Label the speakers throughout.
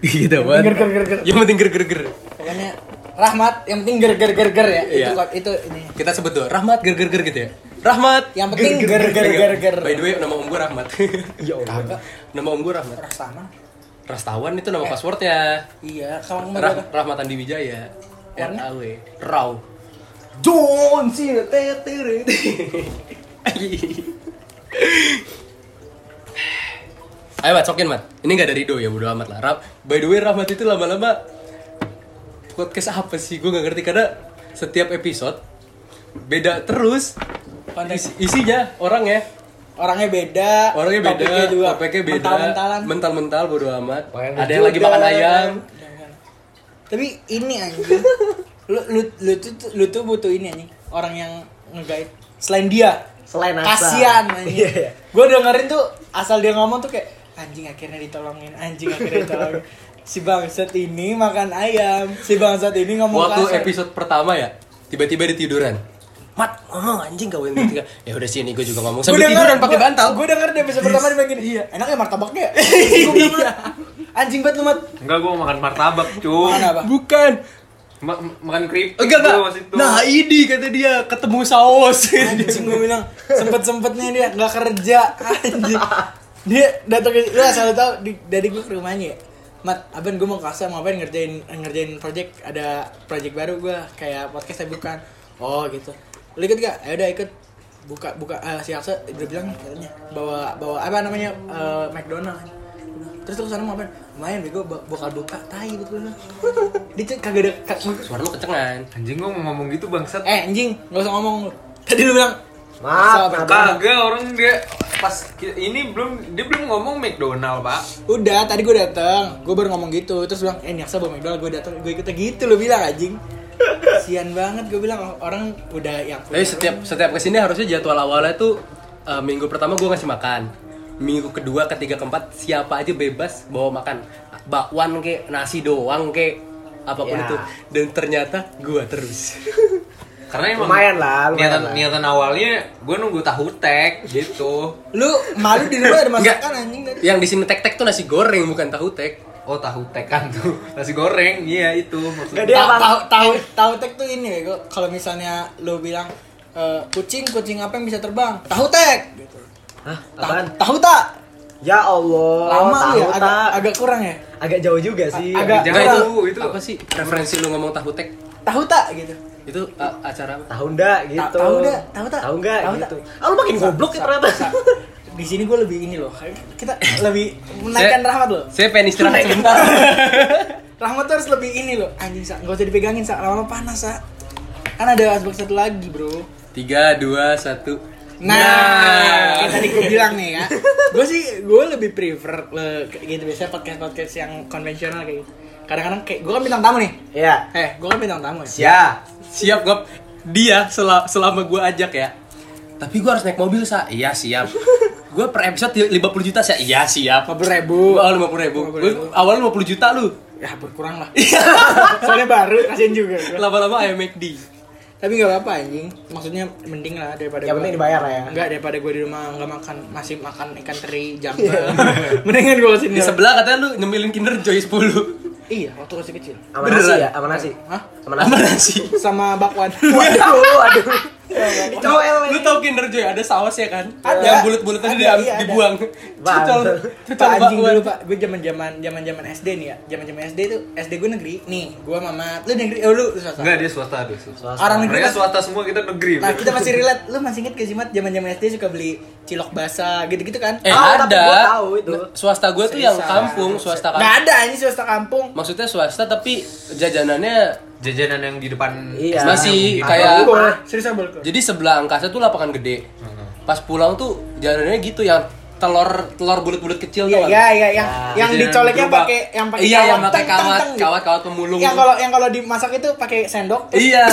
Speaker 1: Gitu
Speaker 2: Ger
Speaker 1: banget.
Speaker 2: ger ger ger.
Speaker 1: Yang penting ger-ger-ger.
Speaker 2: Pokoknya Rahmat yang penting ger ger ger ger ya.
Speaker 1: Iya.
Speaker 2: Itu itu ini.
Speaker 1: Kita sebut tuh, Rahmat ger-ger-ger gitu ya. Rahmat.
Speaker 2: Yang penting ger ger ger ger.
Speaker 1: By the way, nama om gue Rahmat.
Speaker 3: Ya Allah.
Speaker 2: Kagak
Speaker 1: nama om gue Rahmat.
Speaker 2: Rastama.
Speaker 1: Rastawan itu
Speaker 2: Eh.
Speaker 1: nama passwordnya.
Speaker 2: Iya, kawan kamu
Speaker 1: Rah Rahmatan Diwijaya. R A
Speaker 2: Warna?
Speaker 1: W. Raw.
Speaker 2: John Cena tetere.
Speaker 1: Ayo mat, sokin mat. Ini nggak dari Do ya, bodo amat lah. Ra- By the way, Rahmat itu lama-lama podcast apa sih? Gue nggak ngerti karena setiap episode beda terus
Speaker 2: Konten.
Speaker 1: isi- isinya orang ya
Speaker 2: Orangnya beda,
Speaker 1: orangnya beda
Speaker 2: topiknya juga
Speaker 1: topiknya beda
Speaker 2: mental-mentalan.
Speaker 1: mental mental bodo amat
Speaker 3: Makan
Speaker 1: ada yang lagi makan ayam
Speaker 2: Tapi ini anjing. lu, lu, lu, tuh, lu tuh butuh ini anjing. Orang yang ngegait selain dia.
Speaker 3: Selain asal.
Speaker 2: Kasian anjing.
Speaker 3: Iya, iya.
Speaker 2: Gue dengerin tuh asal dia ngomong tuh kayak anjing akhirnya ditolongin, anjing akhirnya ditolongin. si bangsat ini makan ayam, si bangsat ini ngomong
Speaker 1: waktu
Speaker 2: kasar.
Speaker 1: episode pertama ya tiba-tiba dia tiduran mat ngomong anjing kau yang ketiga ya udah sini gue juga ngomong sambil tiduran pakai bantal
Speaker 2: Gue denger dia episode pertama dia bilang gini. Iya. Enak ya martabaknya. Gua bilang, "Mat, Anjing banget lu mat.
Speaker 3: Enggak gua mau makan martabak, cuy.
Speaker 2: Makan apa?
Speaker 1: bukan
Speaker 3: Ma- ma- makan keripik.
Speaker 1: enggak
Speaker 3: gua
Speaker 1: enggak
Speaker 3: waktu itu.
Speaker 1: nah ini kata dia ketemu saus
Speaker 2: Anjing gue bilang sempet sempetnya dia nggak kerja. Anjing. Dia datang ke lu asal lu tahu di, dari gue ke rumahnya. ya. Mat, abang gue mau kasih mau aben ngerjain ngerjain project ada project baru gue kayak podcast saya bukan. Oh gitu. Lu ikut gak? Ayo udah ikut buka buka eh, si Aksa dia bilang katanya bawa bawa apa namanya eh, McDonald terus terus sana mau apa main bego ba- bakal buka tai betul lah dia tuh kagak ada kag-
Speaker 1: suara lu kecengan
Speaker 3: Anjing gua mau ngomong gitu bangsat.
Speaker 2: eh anjing nggak usah ngomong lu tadi lu bilang
Speaker 3: Maaf,
Speaker 2: Masa
Speaker 3: kagak orang dia pas ki- ini belum dia belum ngomong McDonald, Pak.
Speaker 2: udah tadi gue dateng gue baru ngomong gitu terus bilang eh nyaksa bawa McDonald gue dateng gue ikut gitu lu bilang anjing sian banget gue bilang orang udah yang
Speaker 1: tapi setiap setiap kesini harusnya jadwal awalnya tuh eh, minggu pertama gue ngasih makan minggu kedua ketiga keempat siapa aja bebas bawa makan bakwan ke nasi doang ke apapun
Speaker 4: Ya.
Speaker 1: itu dan ternyata gue terus
Speaker 3: Karena emang
Speaker 4: Lumayan lah, lumayan
Speaker 3: niatan
Speaker 4: lah.
Speaker 3: niatan awalnya gue nunggu tahu tek gitu.
Speaker 2: lu malu di rumah ada
Speaker 1: Enggak.
Speaker 2: masakan anjing tadi
Speaker 1: yang di sini tek tek tuh nasi goreng bukan tahu tek
Speaker 3: Oh tahu tek kan tuh nasi goreng, iya itu maksudnya.
Speaker 4: Gak dia
Speaker 2: tahu
Speaker 4: apa?
Speaker 2: tahu tahu tahu tek tuh ini bego kalau misalnya lu bilang eh, kucing kucing apa yang bisa terbang tahu tek gitu.
Speaker 4: Hah?
Speaker 2: Tahu-
Speaker 4: Apaan?
Speaker 2: tahu tak
Speaker 4: Ya Allah.
Speaker 2: lama lu
Speaker 4: tahu
Speaker 2: ya agak,
Speaker 4: tak.
Speaker 2: agak kurang ya
Speaker 4: Agak jauh juga sih.
Speaker 2: Agak-
Speaker 3: Jangan
Speaker 1: Enggak,
Speaker 3: itu, itu.
Speaker 1: Nah, apa sih referensi lu ngomong tahu tek
Speaker 2: tahu tak gitu
Speaker 1: itu uh, acara apa?
Speaker 4: Tahu ndak gitu.
Speaker 2: tahu ndak? Tahu tak?
Speaker 4: Tahu nggak
Speaker 2: Tahu
Speaker 4: gitu. Ah lu makin goblok ya ternyata.
Speaker 2: di sini gue lebih ini loh kita lebih menaikkan
Speaker 1: Saya-
Speaker 2: rahmat loh
Speaker 1: saya pengen istirahat sebentar
Speaker 2: rahmat tuh harus lebih ini loh anjing sak gak usah dipegangin sak lama-lama panas sak kan ada asbak satu lagi bro
Speaker 1: tiga dua satu
Speaker 2: Nah, kayak tadi gue bilang nih ya. Gue sih gue lebih prefer le, kayak gitu biasanya podcast-podcast yang konvensional kayak gitu. Kadang-kadang kayak gue kan bintang tamu nih.
Speaker 4: Iya.
Speaker 2: Eh, gue kan bintang tamu ya.
Speaker 3: Ya,
Speaker 1: siap gop dia sel- selama gue ajak ya tapi gue harus naik mobil sa iya siap gue per episode 50 juta sa iya siap
Speaker 2: 50 ribu.
Speaker 1: awal lima puluh ribu
Speaker 2: 50.000.
Speaker 1: Gua awal 50 juta lu
Speaker 2: Ya berkurang lah. Soalnya baru kasihan juga. gua.
Speaker 1: lama-lama ayam McD
Speaker 2: Tapi nggak apa-apa anjing. Maksudnya mending lah daripada
Speaker 4: Yang
Speaker 2: gua-
Speaker 4: penting dibayar lah ya.
Speaker 2: Enggak daripada gue di rumah nggak makan masih makan ikan teri jambal. Mendingan gue kesini.
Speaker 1: di sebelah katanya lu nyemilin Kinder Joy 10
Speaker 2: Iya, waktu masih kecil.
Speaker 4: Sama nasi
Speaker 1: Beneran.
Speaker 4: ya, sama nasi.
Speaker 2: Hah?
Speaker 4: Sama nasi.
Speaker 1: sama nasi
Speaker 2: Sama bakwan.
Speaker 4: Aduh, aduh. Cowel.
Speaker 1: lu tau Kinder Joy ada sausnya kan?
Speaker 2: Ada.
Speaker 1: Yang bulat-bulat tadi
Speaker 2: Ada,
Speaker 1: diam-
Speaker 2: iya, ada.
Speaker 1: dibuang.
Speaker 4: Bang.
Speaker 1: Cucol,
Speaker 2: Pak
Speaker 1: cucol
Speaker 2: anjing
Speaker 1: bakwan.
Speaker 2: dulu pak, gue zaman zaman zaman zaman SD nih ya, zaman zaman SD tuh SD gue negeri, nih gue mamat, lu negeri, oh lu lu swasta.
Speaker 3: enggak dia swasta dia swasta.
Speaker 4: Swasta.
Speaker 2: Orang negeri
Speaker 3: Mereka
Speaker 2: mas,
Speaker 3: swasta semua kita negeri.
Speaker 2: nah
Speaker 3: bro.
Speaker 2: kita masih relate, lu masih inget gak sih mat, zaman zaman SD suka beli cilok basah gitu gitu kan?
Speaker 1: Eh
Speaker 4: Tahu, tapi
Speaker 1: ada.
Speaker 4: gua tahu itu.
Speaker 1: Swasta gue tuh yang kampung, swasta
Speaker 2: Gak
Speaker 1: kampung.
Speaker 2: ada ini swasta kampung.
Speaker 1: Maksudnya swasta tapi jajanannya
Speaker 3: Jajanan yang di depan
Speaker 4: Iya.
Speaker 1: masih
Speaker 4: Tahu
Speaker 1: kayak
Speaker 4: gua.
Speaker 2: Serius abal kok.
Speaker 1: jadi sebelah angkasa tuh lapangan gede. Pas pulang tuh jalanannya gitu yang telur telur bulat-bulat kecil
Speaker 2: Iya
Speaker 1: tuh. Gitu,
Speaker 2: iya iya yang yang
Speaker 3: jadi
Speaker 2: dicoleknya
Speaker 3: gerobak.
Speaker 2: pakai yang pakai
Speaker 1: Nah, Iya, yang pakai
Speaker 2: teng, teng,
Speaker 1: kawat,
Speaker 2: teng, gitu.
Speaker 1: kawat-kawat pemulung.
Speaker 2: Yang kalau yang kalau dimasak itu pakai sendok.
Speaker 1: Iya.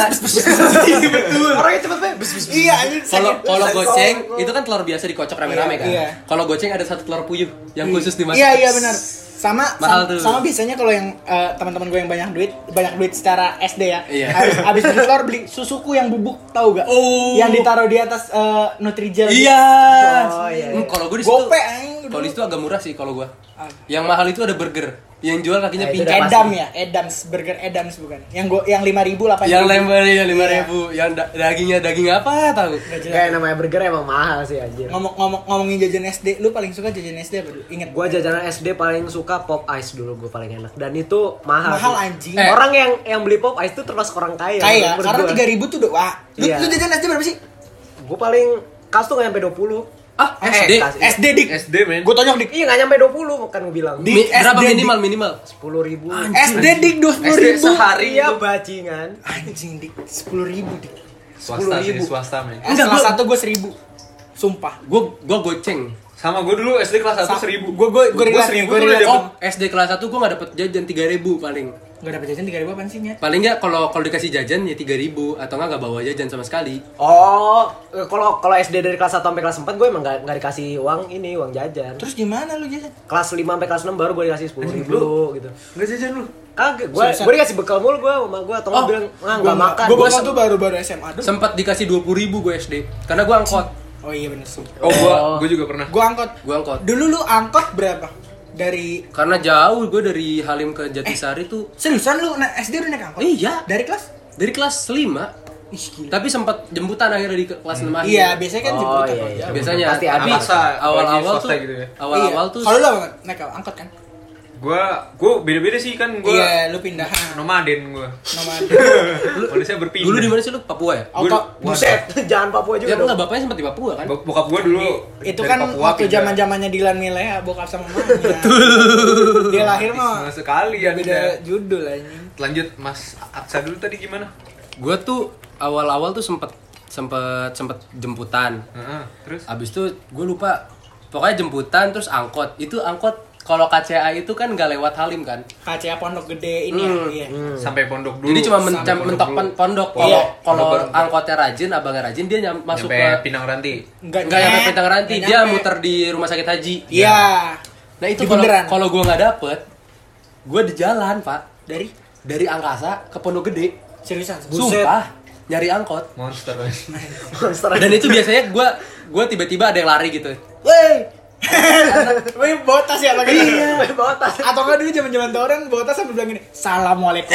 Speaker 4: Orangnya cepet banget. Bus, bus, bus.
Speaker 2: Iya anjing.
Speaker 1: Kalau
Speaker 2: sakit.
Speaker 1: kalau goceng itu kan telur biasa dikocok rame-rame
Speaker 2: Iya,
Speaker 1: kan.
Speaker 2: iya.
Speaker 1: Kalau goceng ada satu telur puyuh yang khusus dimasak.
Speaker 2: Iya iya benar. Sama
Speaker 1: Mahal
Speaker 2: sama,
Speaker 1: tuh.
Speaker 2: sama biasanya kalau yang eh, teman-teman gue yang banyak duit, banyak duit secara SD ya.
Speaker 1: Iya.
Speaker 2: Habis habis beli telur beli susuku yang bubuk, tahu gak?
Speaker 1: Oh.
Speaker 2: Yang ditaruh di atas eh, Nutrijel.
Speaker 1: Iya.
Speaker 4: Oh, iya, iya.
Speaker 1: Hmm, Kalau gue di situ
Speaker 2: Gope anjing, aku dulu.
Speaker 1: Tolis itu agak murah sih kalau gua.
Speaker 2: Ah.
Speaker 1: Yang mahal itu ada burger. Yang jual kakinya
Speaker 4: Nah, itu
Speaker 1: pincang.
Speaker 4: udah
Speaker 2: Edam ya, Edams burger Edams bukan. Yang gua yang 5000 8000.
Speaker 1: Yang lembarnya lima
Speaker 2: Iya.
Speaker 1: ribu, yang da- dagingnya daging apa tahu?
Speaker 2: Nggak jelas.
Speaker 4: Kayak namanya burger emang mahal sih anjir.
Speaker 2: Ngomong ngomong ngomongin jajan SD, lu paling suka jajan SD apa dulu? Ingat
Speaker 4: Gua jajanan SD paling suka pop ice dulu gue paling enak dan itu mahal.
Speaker 2: Mahal,
Speaker 4: sih.
Speaker 2: anjing.
Speaker 1: Eh.
Speaker 4: Orang yang yang beli pop ice itu termasuk orang kaya.
Speaker 2: kaya karena 3000 tuh udah wah. Lu,
Speaker 4: Iya.
Speaker 2: lu jajan SD berapa sih?
Speaker 4: Gue paling kas tuh nggak nyampe 20.
Speaker 1: Ah,
Speaker 2: Eh,
Speaker 1: SD.
Speaker 4: kas.
Speaker 2: SD dik.
Speaker 3: SD men
Speaker 2: Gua tonyok dik.
Speaker 4: Iya nggak nyampe 20 bukan gue bilang.
Speaker 1: Mi-
Speaker 2: Dik,
Speaker 1: berapa
Speaker 2: SD, dik.
Speaker 1: minimal minimal?
Speaker 4: 10 ribu. Eh,
Speaker 2: SD dik 20000
Speaker 3: SD
Speaker 2: ribu.
Speaker 3: sehari.
Speaker 4: Hari ya bajingan.
Speaker 2: Anjing dik 10000 ribu dik.
Speaker 3: swasta sih
Speaker 4: 10.000.
Speaker 3: swasta men
Speaker 2: Eh,
Speaker 1: Enggak,
Speaker 2: salah
Speaker 1: gua-
Speaker 2: satu gua 1000. Sumpah.
Speaker 1: Gua gua goceng.
Speaker 3: sama gue dulu SD kelas 1
Speaker 2: Sa-
Speaker 3: seribu
Speaker 2: gua- gua- gua relate,
Speaker 3: seribu
Speaker 2: gua
Speaker 3: tuh udah
Speaker 2: relate.
Speaker 3: dapet
Speaker 1: Oh, SD kelas 1 gua nggak dapet jajan 3000 paling.
Speaker 2: Gak dapet jajan 3000 apaan sih nyet?
Speaker 1: Paling nggak kalau kalau dikasih jajan ya 3000 atau nggak nggak bawa jajan sama sekali.
Speaker 4: Oh, eh, kalau kalau SD dari kelas 1 sampai kelas 4 gue emang gak, nggak dikasih uang ini, uang jajan.
Speaker 2: Terus gimana lu jajan?
Speaker 4: Kelas 5 sampai kelas 6 baru gue dikasih 10 ribu gitu.
Speaker 3: nggak jajan lu
Speaker 4: Kagak, gue gue dikasih bekal mulu gue sama gue atau nggak
Speaker 1: Oh,
Speaker 4: bilang ah nggak makan.
Speaker 2: Gua bakal tuh baru-baru SMA dulu.
Speaker 1: Sempat dikasih 20.000 gue SD karena gua angkot.
Speaker 2: Oh iya bener sih.
Speaker 3: oh gue gue juga pernah
Speaker 2: Gua angkot.
Speaker 1: Gua angkot.
Speaker 2: Dulu lu angkot berapa? Dari
Speaker 1: Karena jauh gue dari Halim ke Jatisari tuh
Speaker 2: seriusan lu na- SD udah naik angkot?
Speaker 1: Iya.
Speaker 2: Dari kelas?
Speaker 1: dari kelas 5
Speaker 2: Ih gila.
Speaker 1: tapi sempat jemputan akhirnya di ke- kelas 6 akhir. Ya,
Speaker 2: Iya, biasanya kan
Speaker 4: Oh,
Speaker 2: jemputan
Speaker 4: iya,
Speaker 2: kalau
Speaker 4: iya.
Speaker 2: jauh.
Speaker 1: biasanya
Speaker 4: Pasti ada.
Speaker 1: tapi
Speaker 3: Maksa,
Speaker 1: awal-awal
Speaker 3: bagi
Speaker 1: tuh
Speaker 3: swasta gitu ya.
Speaker 1: awal-awal
Speaker 2: Iya.
Speaker 1: tuh
Speaker 2: Kalau lu apa, naik apa? angkot kan?
Speaker 3: gue gue beda beda sih kan gue
Speaker 2: Iya, lu pindahan.
Speaker 3: nomaden gue
Speaker 2: Nomad.
Speaker 3: manusia berpindah
Speaker 1: dulu di mana sih lu Papua ya?
Speaker 3: Gua-
Speaker 2: Auto.
Speaker 4: Buset, jangan Papua juga.
Speaker 1: Ya
Speaker 4: dong.
Speaker 1: enggak bapaknya sempat di Papua kan?
Speaker 3: Bok- Bokap gue dulu
Speaker 2: itu
Speaker 3: dari
Speaker 2: kan
Speaker 3: Papua
Speaker 2: waktu
Speaker 3: pindah.
Speaker 2: zaman-zamannya Dilan Milea bokap sama mamanya. Dia lahir mah
Speaker 3: Sama sekali ya
Speaker 2: beda judul anjing.
Speaker 3: Lanjut Mas Aksa dulu tadi gimana?
Speaker 1: Gue tuh awal-awal tuh sempet sempet sempet jemputan.
Speaker 3: Heeh, terus
Speaker 1: Abis itu gue lupa pokoknya jemputan terus angkot. Itu angkot kalau KCA itu kan nggak lewat Halim kan?
Speaker 2: KCA Pondok Gede ini ya. Iya.
Speaker 3: Hmm. sampai pondok dulu.
Speaker 1: Jadi cuma men-
Speaker 3: Sampai pondok
Speaker 1: mentok
Speaker 3: dulu.
Speaker 1: pon- pondok.
Speaker 3: Iya.
Speaker 1: Kalau kalau
Speaker 3: Pondok baru.
Speaker 1: angkotnya rajin, abangnya rajin dia nyam- masuk
Speaker 3: Sampai
Speaker 1: ke
Speaker 3: Pinang Ranti.
Speaker 2: Enggak
Speaker 1: nggak nyampe
Speaker 2: nyet,
Speaker 1: Petang Ranti,
Speaker 2: nggak
Speaker 1: dia
Speaker 2: nyampe.
Speaker 1: muter di rumah sakit haji.
Speaker 2: Iya.
Speaker 1: Nah itu
Speaker 2: Di
Speaker 1: kalau
Speaker 2: bundaran.
Speaker 1: kalau gue nggak dapet, gue di jalan pak
Speaker 2: Dari
Speaker 1: dari angkasa ke Pondok Gede.
Speaker 2: seriusan. seriusan.
Speaker 4: Buset.
Speaker 1: Sumpah nyari angkot.
Speaker 3: Monster.
Speaker 4: Monster.
Speaker 1: Dan itu biasanya gue gue tiba-tiba ada yang lari gitu.
Speaker 4: Wey,
Speaker 2: Wih, botas ya lagi.
Speaker 4: wey, bawa tas.
Speaker 2: Atau enggak dulu zaman-zaman toren botas sambil bilang gini, "Assalamualaikum."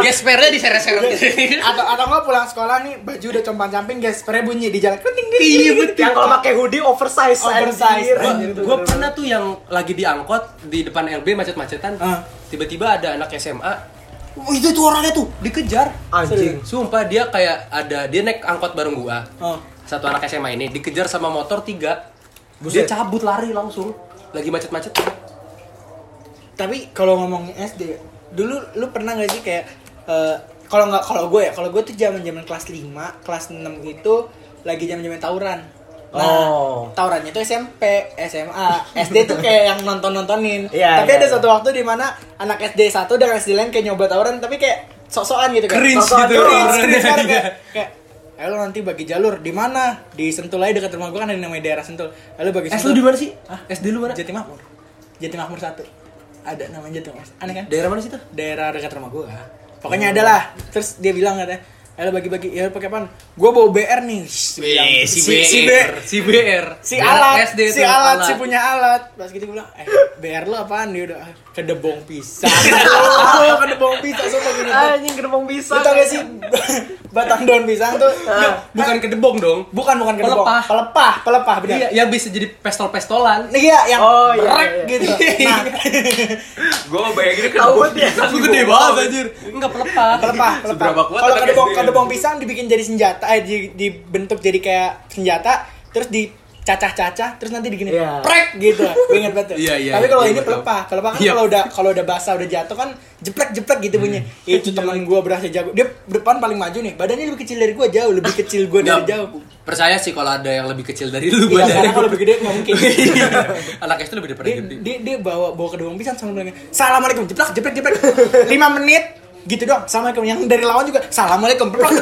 Speaker 1: Gespernya diseret-seret. iya.
Speaker 2: atau atau enggak pulang sekolah nih baju udah compang-camping, guys. Spray bunyi di jalan. Keting ding.
Speaker 1: Iya, betul.
Speaker 4: Yang kalau pakai hoodie oversize,
Speaker 2: Oversize, anjir.
Speaker 1: gue pernah tuh yang lagi di angkot di depan LB macet-macetan.
Speaker 2: Ah.
Speaker 1: Tiba-tiba ada anak SMA. Wih, itu tuh orangnya tuh dikejar.
Speaker 4: Anjing.
Speaker 1: Sumpah dia kayak ada dia naik angkot bareng gua.
Speaker 2: Oh.
Speaker 1: Satu anak SMA ini dikejar sama motor tiga. Dia
Speaker 4: Buset.
Speaker 1: cabut lari langsung. Lagi macet-macet.
Speaker 2: Tapi kalau ngomongin SD, dulu lu pernah nggak sih kayak eh, kalau nggak kalau gue ya, kalau gue tuh zaman-zaman kelas 5, kelas 6 itu lagi zaman-zaman tawuran. Nah,
Speaker 4: Oh.
Speaker 2: tawurannya itu SMP, SMA, SD tuh kayak yang nonton-nontonin.
Speaker 4: Iya,
Speaker 2: tapi
Speaker 4: iya,
Speaker 2: ada
Speaker 4: iya.
Speaker 2: satu waktu di mana anak SD satu dan SD lain kayak nyoba tawuran tapi kayak sok-sokan gitu kan.
Speaker 1: Cringe
Speaker 2: Sok-sokan
Speaker 1: gitu.
Speaker 2: doang, cringe
Speaker 1: Iya.
Speaker 2: banget, kayak- kayak "Eh, lu nanti bagi jalur di mana? Di Sentul aja dekat rumah gue kan ada yang namanya daerah Sentul. Eh, lu bagi
Speaker 1: S lu di mana sih? SD lu mana?
Speaker 2: Jati Makmur. Jati Makmur 1. Ada namanya Jati Makmur. Aneh kan?
Speaker 1: Daerah mana sih tuh?
Speaker 2: Daerah dekat rumah gua. Pokoknya ada lah. Terus dia bilang katanya, "Ayo bagi-bagi, ya pakai apaan? Gua bawa BR nih." Shh, dia bilang.
Speaker 1: Eh,
Speaker 2: si BR.
Speaker 1: si BR.
Speaker 2: Si
Speaker 1: Daerah
Speaker 2: alat,
Speaker 1: SD
Speaker 2: si
Speaker 1: tuh,
Speaker 2: alat, si punya alat. Pas gitu gua bilang, "Eh, BR lu apaan?" Dia udah "Ah, kedebong pisang. Oh, kedebong pisang sumpah gini.
Speaker 4: Anjing gerbong bisa.
Speaker 2: Lu tau gak sih batang daun pisang tuh
Speaker 1: Bukan kedebong dong.
Speaker 2: bukan bukan kedebong.
Speaker 1: Pelepah.
Speaker 2: pelepah, pelepah benar.
Speaker 1: Iya, yang bisa jadi pestol-pestolan.
Speaker 2: Iya, yang
Speaker 4: Oh, iya,
Speaker 2: brek
Speaker 4: iya.
Speaker 2: gitu. Nah,
Speaker 3: gue bayangin kan
Speaker 4: Tahu dia.
Speaker 1: Aku gede banget anjir. Enggak pelepah.
Speaker 2: pelepah pelepah
Speaker 3: Seberapa kuat
Speaker 2: kalau
Speaker 3: anak
Speaker 2: kedebong
Speaker 3: SD?
Speaker 2: kedebong pisang dibikin jadi senjata eh di- dibentuk jadi kayak senjata terus dicacah-cacah terus nanti digini
Speaker 4: Iya.
Speaker 2: prek gitu Gua ingat banget tuh.
Speaker 1: Iya, iya,
Speaker 2: tapi
Speaker 1: iya,
Speaker 2: kalau
Speaker 1: iya,
Speaker 2: ini
Speaker 1: gua tahu.
Speaker 2: pelepah pelepah kan
Speaker 1: Iya.
Speaker 2: kalau udah kalau udah basah udah jatuh kan jeplek jeplek gitu bunyinya
Speaker 1: Hmm.
Speaker 2: itu teman gua berasa jago dia depan paling maju nih badannya lebih kecil dari gua jauh lebih kecil gua dari
Speaker 1: Nggak,
Speaker 2: jauh
Speaker 1: Percaya sih kalau ada yang lebih kecil dari lu
Speaker 2: Iya,
Speaker 1: badannya.
Speaker 2: karena kalau lebih gede nggak mungkin
Speaker 1: Iya. Anak SD lebih daripada
Speaker 2: dia,
Speaker 1: gede.
Speaker 2: dia, dia bawa bawa kedua pisang sama bilangnya assalamualaikum jeplak jeplak jeplak lima menit gitu doang assalamualaikum yang dari lawan juga assalamualaikum jeplak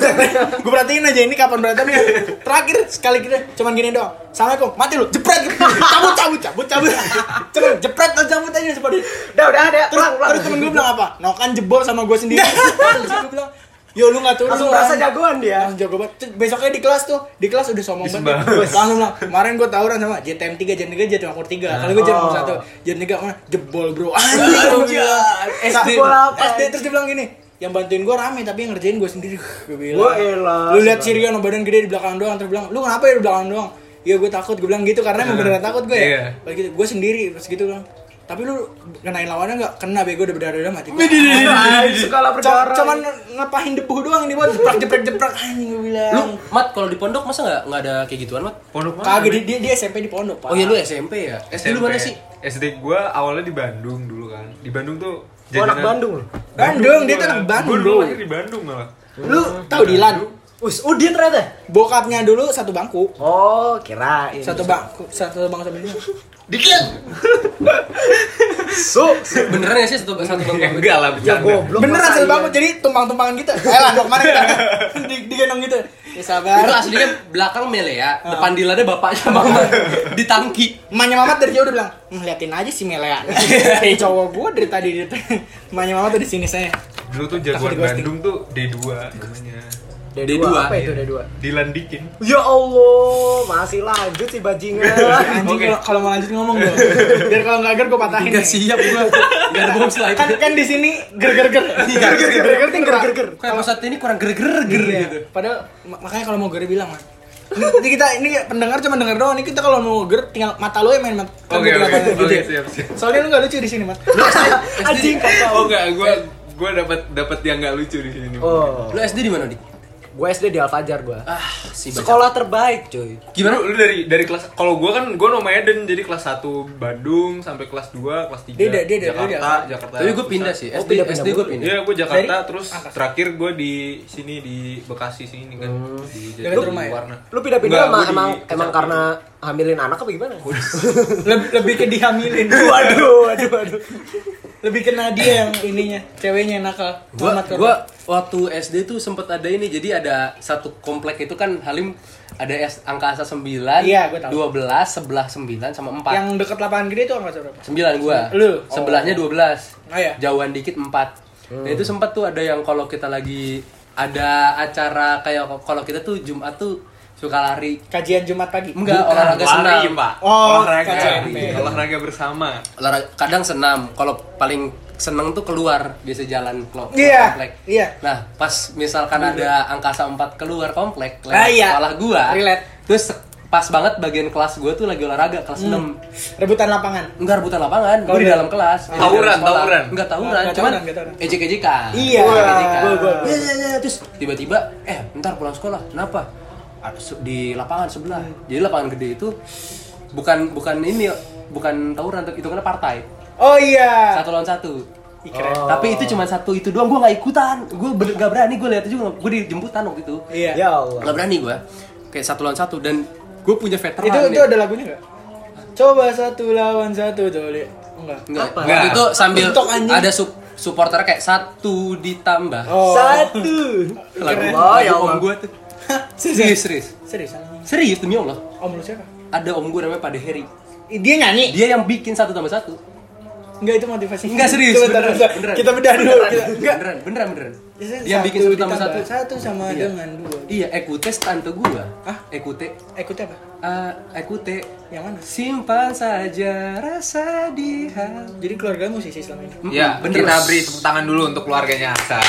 Speaker 2: gue perhatiin aja ini kapan berantemnya terakhir sekali kita cuman gini doang assalamualaikum mati lu jepret cabut cabut cabut cabut cuman jepret atau cabut aja seperti
Speaker 4: Udah, udah ada.
Speaker 2: terus
Speaker 4: Pulang, pulang.
Speaker 2: terus temen gue bilang apa nokan jebol sama gue sendiri terus gue bilang yo lu ngatur lu,
Speaker 4: Langsung merasa
Speaker 2: Ran."
Speaker 4: jagoan dia.
Speaker 2: langsung jago banget Terus besoknya di kelas tuh di kelas udah sombong banget
Speaker 3: Disembah.
Speaker 2: langsung bilang kemarin gue tawuran sama JTM 3 JTM 3 JTM nomor 3 kalau gue JTM nomor
Speaker 4: Oh.
Speaker 2: 1 JTM 3 mana jebol bro anjing Nah,
Speaker 1: SD.
Speaker 4: Bola apa?
Speaker 2: SD terus dia bilang gini yang bantuin gue rame tapi yang ngerjain gue sendiri gue
Speaker 4: Wah, elah.
Speaker 2: lu lihat si Rion badan gede di belakang doang terus bilang lu kenapa ya di belakang doang Iya gue takut, gue bilang gitu karena emang beneran takut gue
Speaker 3: Iya.
Speaker 2: ya. Pas gitu, gue sendiri pas gitu bilang. Tapi lu kenain lawannya nggak? Kena bego udah berdarah-darah mati. gua.
Speaker 4: segala
Speaker 2: Cuma-
Speaker 4: berdarah.
Speaker 2: cuman ngepahin debu doang ini buat jeprak jeprak jeprak anjing gue bilang.
Speaker 1: Lu, Mat, kalau di pondok masa nggak nggak ada kayak gituan, Mat?
Speaker 3: Pondok mana?
Speaker 2: kagak dia, dia, dia SMP di pondok, Pak.
Speaker 1: Oh iya lu SMP ya? SD lu mana sih?
Speaker 3: SD gua awalnya di Bandung dulu kan. Di Bandung tuh
Speaker 4: Gua anak
Speaker 3: jajanan-
Speaker 4: Bandung lu.
Speaker 2: Bandung, dia
Speaker 3: gua.
Speaker 2: tuh anak Bandung.
Speaker 3: Gua dulu lahir di Bandung malah.
Speaker 4: Lu
Speaker 2: Tahu Dilan?
Speaker 4: Us, oh dia ternyata.
Speaker 2: Bokapnya dulu satu bangku.
Speaker 4: Oh, kirain.
Speaker 2: Satu bangku, satu bangku sama dia.
Speaker 4: So,
Speaker 1: Beneran ya sih satu satu
Speaker 3: Ya,
Speaker 1: bangku?
Speaker 3: enggak lah
Speaker 4: ya
Speaker 3: bercanda.
Speaker 4: goblok.
Speaker 2: Beneran
Speaker 4: masa
Speaker 2: satu
Speaker 4: iya?
Speaker 2: bangku jadi tumpang-tumpangan gitu. Eh lah, dok mana kita? Di- digendong gitu. Ya sabar.
Speaker 1: Itu aslinya belakang mele ya, depan dilannya bapaknya mama di tangki.
Speaker 2: Emaknya Mamat dari jauh udah bilang, "Hmm, liatin aja si Melea. Kayak cowok gue dari tadi dia tuh. Emaknya Mamat tuh di sini saya.
Speaker 3: Dulu tuh jagoan
Speaker 2: Takut di ghosting.
Speaker 3: Bandung tuh D2 namanya.
Speaker 4: D2,
Speaker 1: D2.
Speaker 4: apa itu D2?
Speaker 3: Dilan Dikin.
Speaker 4: Ya Allah, masih lanjut si bajingan.
Speaker 2: Anjing
Speaker 3: Oke.
Speaker 2: kalau kalau mau lanjut ngomong dong. Biar kalau nggak ger gue patahin.
Speaker 1: Enggak
Speaker 2: nih.
Speaker 1: siap gua. Enggak ada bom selain
Speaker 2: Nah, kan
Speaker 1: itu.
Speaker 2: kan di sini ger ger ger
Speaker 3: Iya,
Speaker 2: ger ger ger ger ger ger
Speaker 3: gitu.
Speaker 2: ger
Speaker 1: Kayak Mas Satu ini kurang ger-ger ger
Speaker 2: Iya.
Speaker 3: Iya.
Speaker 1: gitu.
Speaker 2: padahal mak- makanya kalau mau ger bilang Mas. ini ini kita ini pendengar cuma denger doang ini kita kalau mau ger tinggal mata lo yang main mat Kan
Speaker 3: Oke,
Speaker 2: gua
Speaker 3: oke.
Speaker 2: bilang,
Speaker 3: Oke,
Speaker 2: ya.
Speaker 3: siap, siap.
Speaker 2: soalnya lu gak lucu di sini mat
Speaker 4: Anjing kacau.
Speaker 3: Oh enggak, gua gua dapat dapat yang enggak lucu di sini.
Speaker 4: Oh,
Speaker 1: Lu SD di mana, Dik?
Speaker 4: gue SD di Al Fajar gue.
Speaker 1: Ah, si bajak.
Speaker 4: Sekolah terbaik, cuy.
Speaker 1: Gimana?
Speaker 3: Lu, lu dari dari kelas kalau gua kan gua nomaden jadi kelas 1 Bandung sampai kelas 2, kelas 3
Speaker 2: Dia ada- dia ada-
Speaker 3: Jakarta,
Speaker 2: dia ada.
Speaker 3: Jakarta.
Speaker 1: Tapi gua
Speaker 3: pusat.
Speaker 1: pindah sih.
Speaker 4: Oh,
Speaker 1: SD
Speaker 4: pindah-pindah
Speaker 1: SD gua
Speaker 4: mulu.
Speaker 1: pindah.
Speaker 3: Iya, gua Jakarta
Speaker 2: Dari
Speaker 3: terus
Speaker 2: Angkasa.
Speaker 3: terakhir gua di sini di Bekasi sini kan. Di
Speaker 2: Dekat
Speaker 3: Jati
Speaker 2: rumah ya?
Speaker 3: Warna.
Speaker 4: Lu pindah-pindah
Speaker 3: Enggak,
Speaker 4: emang
Speaker 3: gua di
Speaker 4: emang, emang
Speaker 3: Kecapi.
Speaker 4: karena hamilin anak apa gimana?
Speaker 2: lebih lebih ke dihamilin
Speaker 4: waduh, waduh, waduh.
Speaker 2: lebih ke Nadia yang ininya ceweknya yang nakal
Speaker 1: Gua,
Speaker 2: Mamat,
Speaker 1: gua waktu SD tuh sempet ada ini jadi ada satu komplek itu kan Halim ada S, angka asa 9,
Speaker 2: Iya, gua tahu.
Speaker 1: 12, 11, 9 sama 4.
Speaker 2: yang deket lapangan gede tuh angkasa berapa
Speaker 1: 9 gua.
Speaker 2: Lu?
Speaker 1: Sebelahnya 12.
Speaker 2: Oh, iya.
Speaker 1: Jauhan dikit 4. Nah, itu sempat tuh ada yang kalau kita lagi ada acara kayak kalau kita tuh Jumat tuh suka lari.
Speaker 2: kajian Jumat pagi
Speaker 1: Enggak, olahraga
Speaker 3: Lari,
Speaker 1: senam.
Speaker 3: Pak.
Speaker 2: Oh,
Speaker 3: olahraga.
Speaker 2: kacau.
Speaker 3: Olahraga bersama.
Speaker 1: Olahraga kadang senam. Kalau paling seneng tuh keluar biasa jalan ke ke
Speaker 2: Iya,
Speaker 1: komplek.
Speaker 2: iya.
Speaker 1: Nah, pas misalkan ada angkasa 4 keluar komplek lewat
Speaker 2: Ah, iya.
Speaker 1: sekolah gua.
Speaker 2: Relate.
Speaker 1: Terus pas banget bagian kelas gua tuh lagi olahraga kelas 6.
Speaker 2: rebutan lapangan
Speaker 1: Enggak rebutan lapangan, gue di
Speaker 2: Hmm. Tauran.
Speaker 1: dalam kelas. di dalam
Speaker 3: Tauran,
Speaker 1: sekolah.
Speaker 3: tawuran.
Speaker 1: Enggak tawuran, cuman
Speaker 2: Enggak tawuran, enggak tawuran.
Speaker 1: ejek-ejekan.
Speaker 2: Iya.
Speaker 1: Ejek-ejekan.
Speaker 2: Gua, gua.
Speaker 1: Iya, iya, iya. Terus tiba-tiba, eh, ntar pulang sekolah. Kenapa? Ada se- Di lapangan sebelah.
Speaker 2: Hmm.
Speaker 1: Jadi lapangan gede itu bukan bukan ini bukan tawuran itu karena partai
Speaker 2: oh iya
Speaker 1: satu lawan satu Oh.
Speaker 2: Ih, keren.
Speaker 1: tapi itu cuma satu itu doang gue nggak ikutan gue bener gak berani gue lihat juga gue dijemputan waktu itu
Speaker 2: iya
Speaker 4: Ya Allah.
Speaker 1: nggak berani gue kayak satu lawan satu dan gue punya veteran
Speaker 2: itu
Speaker 1: nih.
Speaker 2: itu ada lagunya nggak coba satu lawan satu jolly enggak
Speaker 1: Enggak.
Speaker 4: Apa?
Speaker 1: Waktu itu sambil
Speaker 2: Bentuk, anjing.
Speaker 1: ada sup supporter kayak satu ditambah.
Speaker 2: oh
Speaker 4: Satu.
Speaker 1: Lagu,
Speaker 4: Oh,
Speaker 1: lagu
Speaker 4: ya
Speaker 1: om
Speaker 4: Allah.
Speaker 1: gue tuh. serius,
Speaker 2: serius
Speaker 1: serius.
Speaker 2: serius
Speaker 1: Serius demi Allah.
Speaker 2: om lu siapa
Speaker 1: Ada om gue namanya Pade Heri.
Speaker 2: Ih, dia nyanyi
Speaker 1: Dia yang bikin satu tambah satu.
Speaker 2: enggak itu motivasi
Speaker 1: Enggak serius.
Speaker 2: Coba, bentar, bentar.
Speaker 1: beneran.
Speaker 2: kita bedah dulu
Speaker 1: Beneran,
Speaker 2: kita- enggak
Speaker 1: Beneran, beneran, beneran.
Speaker 2: Biasanya
Speaker 1: Dia yang bikin satu tambah satu.
Speaker 2: ditambah Iya, satu sama
Speaker 1: Iya.
Speaker 2: dengan dua
Speaker 1: Iya, ekutes tante gue.
Speaker 2: Hah?
Speaker 1: Ekute,
Speaker 2: ikut apa
Speaker 1: ah, ekute.
Speaker 2: yang mana
Speaker 1: Simpan saja rasa di hati.
Speaker 2: jadi keluarga musisi selama ini
Speaker 1: Mm-mm,
Speaker 3: Ya,
Speaker 1: bener.
Speaker 3: kita beri tepuk tangan dulu untuk keluarganya Aksa.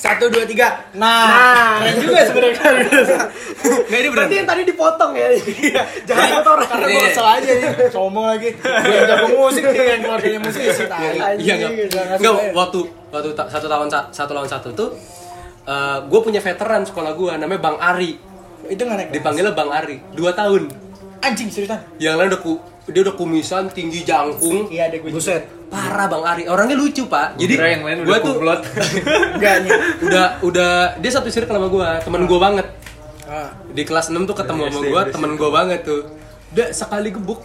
Speaker 2: satu dua tiga nah, keren juga sebenarnya Iya.
Speaker 1: Nggak, ini beneran.
Speaker 4: Berarti yang tadi dipotong ya. Jangan kotoran.
Speaker 2: karena gue
Speaker 1: Iya.
Speaker 2: kesel aja nih sombong lagi gue udah musik nih yang keluarganya musisi
Speaker 1: Iya
Speaker 2: tai.
Speaker 4: Anjing,
Speaker 1: nggak.
Speaker 2: nggak ngasih
Speaker 1: Nggak,
Speaker 2: bayar.
Speaker 1: waktu waktu ta- satu lawan sa- satu lawan satu tuh gue punya veteran sekolah gue namanya Bang Ari
Speaker 2: itu nggak naik
Speaker 1: dipanggilnya Bang Ari dua tahun
Speaker 2: anjing seriusan
Speaker 1: yang lain udah ku- dia udah kumisan tinggi jangkung
Speaker 2: iya ada gue
Speaker 4: Buset.
Speaker 1: parah Bang Ari orangnya lucu pak jadi
Speaker 3: Kira yang lain
Speaker 1: gua
Speaker 3: udah kumplot.
Speaker 2: enggak nih
Speaker 1: udah udah dia satu circle sama gue temen gue banget
Speaker 2: Ah.
Speaker 1: di kelas 6 tuh ketemu
Speaker 3: Dari
Speaker 1: sama
Speaker 3: SD,
Speaker 1: gue
Speaker 3: dari
Speaker 1: temen gue banget tuh udah sekali gebuk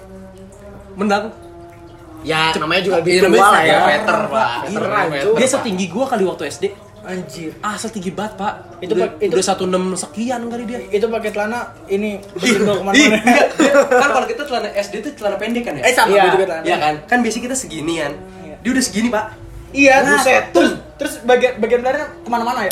Speaker 1: menang
Speaker 4: Ya, namanya
Speaker 1: Iya,
Speaker 4: juga bikin
Speaker 1: namanya
Speaker 4: lah
Speaker 1: Iya,
Speaker 4: ya.
Speaker 1: Pak.
Speaker 3: Peter, Pak.
Speaker 4: Gila,
Speaker 3: Namanya
Speaker 4: cuy.
Speaker 1: dia setinggi gue kali waktu SD
Speaker 2: anjir
Speaker 1: ah setinggi banget pak
Speaker 2: Itu,
Speaker 1: udah,
Speaker 2: Pak, itu-
Speaker 1: udah 1,6 sekian kali dia Iya.
Speaker 2: itu pakai celana ini
Speaker 1: Ih,
Speaker 2: berjendol
Speaker 1: ih,
Speaker 2: kemana-mana
Speaker 1: enggak. kan kalau kita celana SD itu celana pendek kan ya?
Speaker 2: Iya. eh sama
Speaker 4: Iya.
Speaker 2: gue juga celana
Speaker 1: Iya kan? Kan biasanya kita Kan seginian.
Speaker 2: Iya.
Speaker 1: Dia udah segini, Pak.
Speaker 2: iya
Speaker 1: Nah,
Speaker 2: buset
Speaker 1: terus
Speaker 2: Terus bagian bagian belakangnya kemana-mana ya?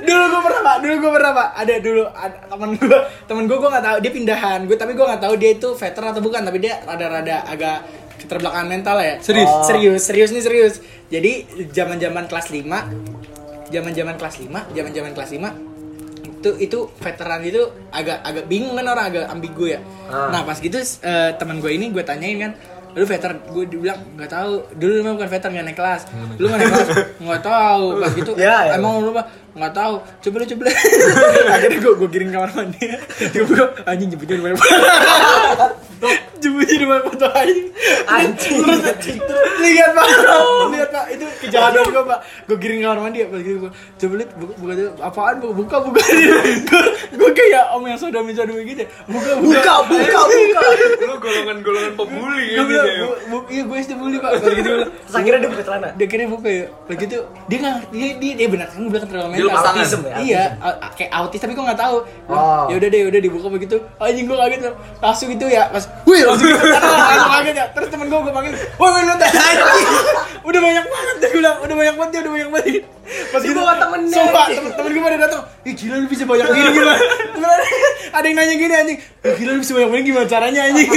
Speaker 2: dulu gue pernah pak, dulu gue pernah pak. Ada dulu ada, teman gue, teman gue gue nggak tahu dia pindahan. Gue tapi gue nggak tahu dia itu veteran atau bukan. Tapi dia rada-rada agak keterbelakangan mental ya.
Speaker 1: Serius?
Speaker 2: Oh. serius, serius nih serius. Jadi zaman-zaman kelas 5 zaman-zaman kelas 5 zaman-zaman kelas 5 itu itu veteran itu agak agak bingung kan orang agak ambigu ya.
Speaker 4: Ah.
Speaker 2: Nah pas gitu eh, teman gue ini gue tanyain kan, lu veteran gue dibilang nggak tahu dulu lu mah bukan veteran nggak naik kelas, lu nggak naik kelas nggak tahu pas gitu
Speaker 4: Ya, ya.
Speaker 2: emang lu mah nggak tahu coba lu coba lu." akhirnya gue gue kirim kamar mandi coba gue anjing jemputnya di mana jemputnya di mana foto anjing
Speaker 4: Anjing.
Speaker 2: terus terus lihat pak lihat pak itu kejahatan gue pak gue giring kamar mandi ya pas gitu gue coba lihat buka buka dulu. apaan bu? buka buka gue gue kayak om yang sodomi sodomi gitu ya. buka buka
Speaker 4: buka, buka.
Speaker 3: Lu golongan-golongan pembuli
Speaker 2: gue
Speaker 3: ya gitu
Speaker 2: bilang
Speaker 3: ya.
Speaker 2: "Bu- bu- iya gue istri bully pak pas gitu gue bilang,
Speaker 4: Terus akhirnya dia buka celana.
Speaker 2: dia kira buka ya begitu dia nggak dia dia, dia benar kan gue bilang terlalu
Speaker 3: Dia
Speaker 2: mental
Speaker 3: lepas tangan.
Speaker 2: Autism ya, iya au- au- kayak autis tapi gue nggak tahu
Speaker 4: Oh.
Speaker 2: ya udah deh udah dibuka begitu anjing gue kaget langsung gitu ya pas wih langsung gitu langsung kaget ya terus temen gue gue panggil woi woi lu teh anjing." udah banyak banget dia bilang udah banyak banget dia udah banyak banget pas gitu
Speaker 4: Dibawa temennya,
Speaker 2: sumpah
Speaker 4: anjing.
Speaker 2: temen temen gue pada datang ih gila lu bisa banyak gini gila Temen ada- ada yang nanya gini anjing "Ih, gila lu bisa banyak gini gimana caranya anjing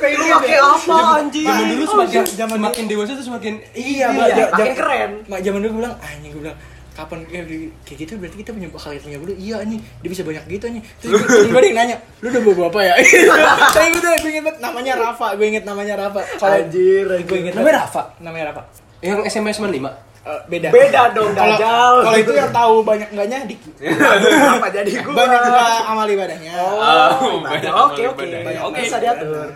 Speaker 4: Lu pakai apa anjing?
Speaker 1: Zaman dulu
Speaker 4: Oh,
Speaker 1: semakin
Speaker 2: zaman- zaman
Speaker 1: semakin dewasa tuh semakin
Speaker 2: iya
Speaker 4: Iya,
Speaker 2: Mbak. Ja-
Speaker 4: makin
Speaker 2: ja-
Speaker 4: keren.
Speaker 2: Mak zaman dulu gue bilang, anjing gue bilang kapan kayak di- kayak gitu berarti kita punya bakal punya dulu iya nih dia bisa banyak gitu nih terus gue gue ada yang nanya lu udah bawa apa ya tapi gue tuh gue inget banget namanya Rafa gue inget namanya Rafa kalau
Speaker 4: Anjir,
Speaker 2: gue inget namanya Rafa namanya Rafa
Speaker 1: yang SMA 95.
Speaker 2: Eh, beda
Speaker 4: Beda dong,
Speaker 2: Kalau-
Speaker 4: Dajjal.
Speaker 2: kalau itu yang tahu banyak enggaknya Diki
Speaker 4: apa jadi gua?
Speaker 2: banyak juga amal ibadahnya
Speaker 1: Ah,
Speaker 2: nah,
Speaker 3: Oh,
Speaker 4: Banyak.
Speaker 3: banyak
Speaker 4: Oke,
Speaker 3: amal
Speaker 4: oke.
Speaker 3: ibadah.
Speaker 4: iya, Oke,
Speaker 3: Oke.
Speaker 4: bisa diatur.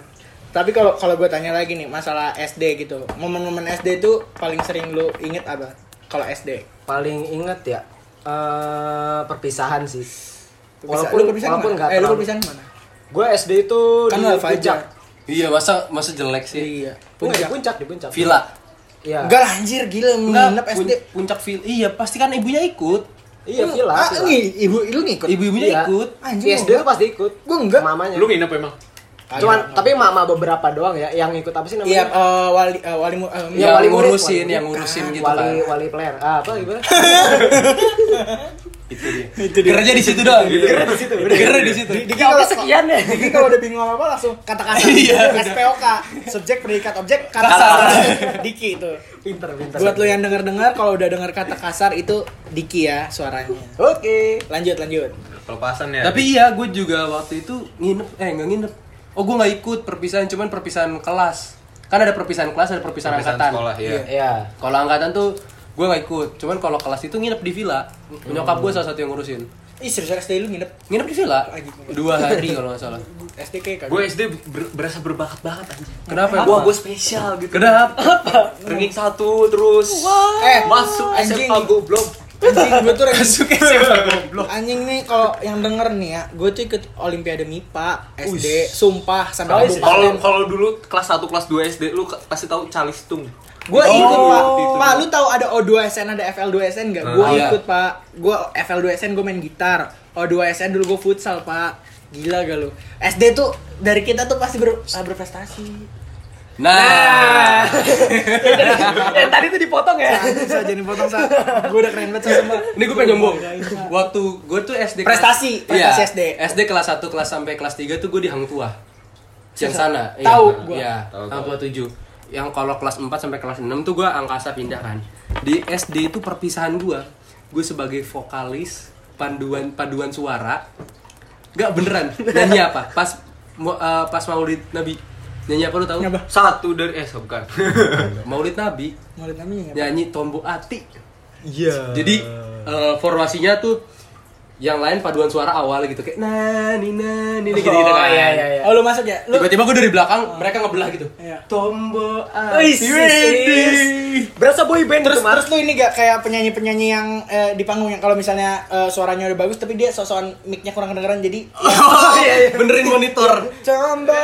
Speaker 2: tapi kalau kalau gue tanya lagi nih masalah SD gitu momen-momen SD itu paling sering lu inget apa kalau SD
Speaker 4: Paling inget ya eh, perpisahan sih.
Speaker 2: Perpisahan- lu
Speaker 4: Walaupun
Speaker 2: perpisahan kemana?
Speaker 4: walaupun enggak
Speaker 2: eh lu
Speaker 4: terlalu.
Speaker 2: perpisahan mana
Speaker 4: Gue SD itu
Speaker 2: kan
Speaker 4: di
Speaker 2: lah Fajar
Speaker 4: puncak.
Speaker 1: Iya, masa masa jelek sih.
Speaker 2: iya
Speaker 4: Enggak, di
Speaker 2: puncak
Speaker 4: puncak, di puncak.
Speaker 1: Villa.
Speaker 4: Iya.
Speaker 2: enggak lah anjir gila nginep SD
Speaker 1: pun- puncak Villa. Iya, pasti kan ibunya ikut.
Speaker 4: Iya,
Speaker 2: Lu-
Speaker 4: villa.
Speaker 2: ah,
Speaker 4: villa.
Speaker 2: ngi- ibu lu ngikut
Speaker 1: Ibu-ibunya
Speaker 4: Iya.
Speaker 1: ikut.
Speaker 2: Anjing,
Speaker 4: Di SD
Speaker 2: gua
Speaker 4: tuh pasti ikut.
Speaker 2: Gua enggak.
Speaker 4: Mamanya.
Speaker 3: Lu nginep emang?
Speaker 4: Cuman tapi mama beberapa doang ya yang ikut apa sih
Speaker 2: iya
Speaker 4: namanya?
Speaker 2: eh, wali eh, wali mu- eh,
Speaker 4: Iya,
Speaker 1: Yang
Speaker 4: wali murid,
Speaker 1: ngurusin,
Speaker 4: wali
Speaker 1: yang
Speaker 4: murid.
Speaker 1: ngurusin
Speaker 4: Bukan,
Speaker 1: gitu
Speaker 4: wali,
Speaker 1: kan.
Speaker 4: Wali player. Ah, apa gimana?
Speaker 1: Itu dia. Iya. Kerja di situ doang.
Speaker 3: Iya, Gitu.
Speaker 1: Kerja di situ. Kerja di situ.
Speaker 2: Diki
Speaker 4: Ya, oke sekian ya.
Speaker 2: Diki kalau udah bingung apa langsung kata kasar
Speaker 1: Iya, udah.
Speaker 2: SPOK subjek predikat objek kata
Speaker 1: Kasar.
Speaker 2: kasar Diki itu
Speaker 4: Pinter, pinter.
Speaker 2: buat lo ya. yang denger dengar kalau udah dengar kata kasar itu Diki ya suaranya
Speaker 4: Oke.
Speaker 2: lanjut lanjut
Speaker 3: Pelepasan ya.
Speaker 1: Tapi iya, gue juga waktu itu nginep, eh nggak nginep. Oh, gue nggak ikut perpisahan, cuman perpisahan kelas. Kan ada perpisahan kelas, ada perpisahan,
Speaker 3: Perpisahan
Speaker 1: angkatan.
Speaker 3: sekolah ya.
Speaker 4: Iya.
Speaker 1: Kalau angkatan tuh gue nggak ikut. Cuman kalau kelas itu nginep di villa.
Speaker 3: Hmm.
Speaker 1: Nyokap gue salah satu yang ngurusin.
Speaker 2: ih serius SD lu nginep
Speaker 1: Nginep di villa
Speaker 2: Lagi.
Speaker 1: dua hari kalau nggak salah.
Speaker 2: SD kayak
Speaker 3: Gue SD ber- berasa berbakat banget anjing.
Speaker 1: Kenapa?
Speaker 3: Gua
Speaker 1: Pak?
Speaker 3: gue spesial gitu.
Speaker 1: Kenapa?
Speaker 3: Ranking satu terus.
Speaker 2: eh
Speaker 3: Masuk
Speaker 2: anjing
Speaker 3: SMA goblok.
Speaker 2: anjing gue tuh ranking
Speaker 1: Masuk SMA goblok.
Speaker 2: Anjing nih kalau yang denger nih ya, gue tuh ikut Olimpiade MIPA SD, sumpah
Speaker 3: Oh,
Speaker 2: sampai
Speaker 4: Kali
Speaker 3: Kalau
Speaker 2: kabupaten.
Speaker 3: kalau dulu kelas 1 kelas 2 SD lu ke- pasti tahu calistung.
Speaker 2: Gue ikut
Speaker 3: Oh.
Speaker 2: pak,
Speaker 3: Itu.
Speaker 2: pak lu tahu ada O2SN ada FL2SN nggak? Gue
Speaker 1: Ah, iya.
Speaker 2: ikut pak, gue FL2SN gue main gitar, O2SN dulu gue futsal pak, gila gak lu? SD tuh dari kita tuh pasti ber- ah, berprestasi.
Speaker 1: Nah, Eh,
Speaker 4: Yang tadi tuh dipotong ya.
Speaker 2: Bisa jadi potong sa, gue udah keren banget sama. Iya,
Speaker 1: ini gue pengen nyombong. Waktu gue tuh SD kelas-
Speaker 2: Prestasi,
Speaker 1: Iya,
Speaker 2: prestasi SD.
Speaker 1: SD kelas 1 kelas sampai kelas 3 tuh gue di Hang Tua. Yang sana. Iya.
Speaker 2: Tahu gua.
Speaker 1: Iya,
Speaker 3: Tahu,
Speaker 1: Hang
Speaker 3: tahu.
Speaker 1: Tua 7. Yang kalau kelas 4 sampai kelas 6 tuh gue angkasa pindah kan. Di SD itu perpisahan gue. Gue sebagai vokalis panduan paduan suara. Gak beneran. Nyanyi apa? Pas mau- eh, pas Maulid Nabi. Nyanyi apa lu tahu?
Speaker 2: Apa?
Speaker 3: Satu dari eh bukan.
Speaker 1: Maulid Nabi.
Speaker 2: Mulut namanya.
Speaker 1: Nyanyi tombok ati.
Speaker 4: Iya.
Speaker 1: Jadi eh, formasinya tuh yang lain paduan suara awal gitu kayak nani nani gitu, gitu
Speaker 4: Oh,
Speaker 1: kan.
Speaker 4: iya, iya, iya.
Speaker 2: Oh lu masuk ya? Lu
Speaker 1: Tiba-tiba gue dari belakang mereka ngebelah gitu. Oh,
Speaker 2: Iya.
Speaker 1: Tombo
Speaker 4: Wih, serius. Berasa boy band
Speaker 2: Terus
Speaker 4: itu, Mar.
Speaker 2: terus lu ini gak kayak penyanyi-penyanyi yang eh, di panggung yang kalau misalnya eh, suaranya udah bagus tapi dia sosokan mic-nya kurang kedengeran jadi
Speaker 1: Oh, iya, iya. benerin monitor.
Speaker 2: coba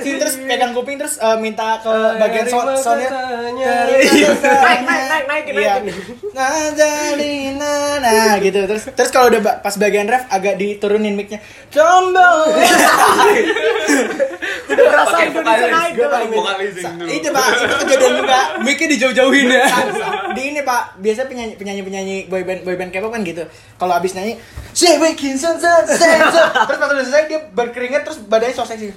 Speaker 2: terus pegang kuping terus eh, minta ke bagian so
Speaker 1: Terima
Speaker 2: soundnya
Speaker 1: katanya.
Speaker 4: Iya. Naik, naik, naik, naikin, naikin.
Speaker 2: Nah, jadi na- nah gitu terus terus kalau udah ba- pas bagian ref agak diturunin mic-nya. Coba.
Speaker 4: Udah berasa
Speaker 3: Pakai
Speaker 4: Indonesian
Speaker 3: Vokalis.
Speaker 4: Idol.
Speaker 3: Vokalis. Vokalising dulu.
Speaker 2: Itu pak, itu kejadian juga.
Speaker 1: Mic-nya dijauh-jauhin ya.
Speaker 2: Di ini pak, biasa penyanyi penyanyi penyanyi boyband boyband K-pop kan gitu. Kalau abis nyanyi, she making sense, sense, sense." terus pas udah selesai dia berkeringat terus badannya so seksi.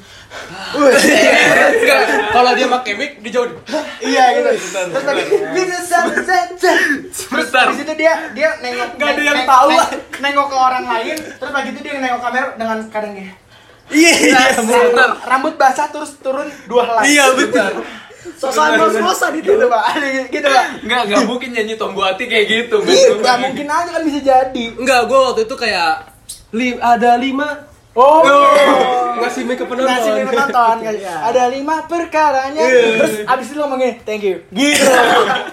Speaker 1: Enggak, Kalau dia pakai mic dijauhin.
Speaker 2: iya gitu. Terus tadi bisa sense, sense, sense." Terus
Speaker 3: Bentar.
Speaker 2: di situ dia dia nengok
Speaker 3: Nggak ada
Speaker 2: neng-
Speaker 3: yang
Speaker 2: neng-
Speaker 3: tahu.
Speaker 2: neng- nengok ke orang lain. Terus pagi itu dia nengok kamera dengan kadang gini.
Speaker 1: Iya, benar.
Speaker 2: Rambut basah terus turun dua helai.
Speaker 1: Iya, benar.
Speaker 4: Sosokan los-losan itu.
Speaker 2: Gitu pak, gitu pak.
Speaker 3: Enggak, enggak mungkin nyanyi tombo hati kayak gitu.
Speaker 2: Iya, nggak mungkin aja kan bisa jadi.
Speaker 1: Enggak, gue waktu itu kayak li- ada lima
Speaker 2: Oh,
Speaker 1: ngasih mic ke penonton.
Speaker 2: ngasih minum nonton ada lima perkaranya terus abis itu ngomongin thank you gitu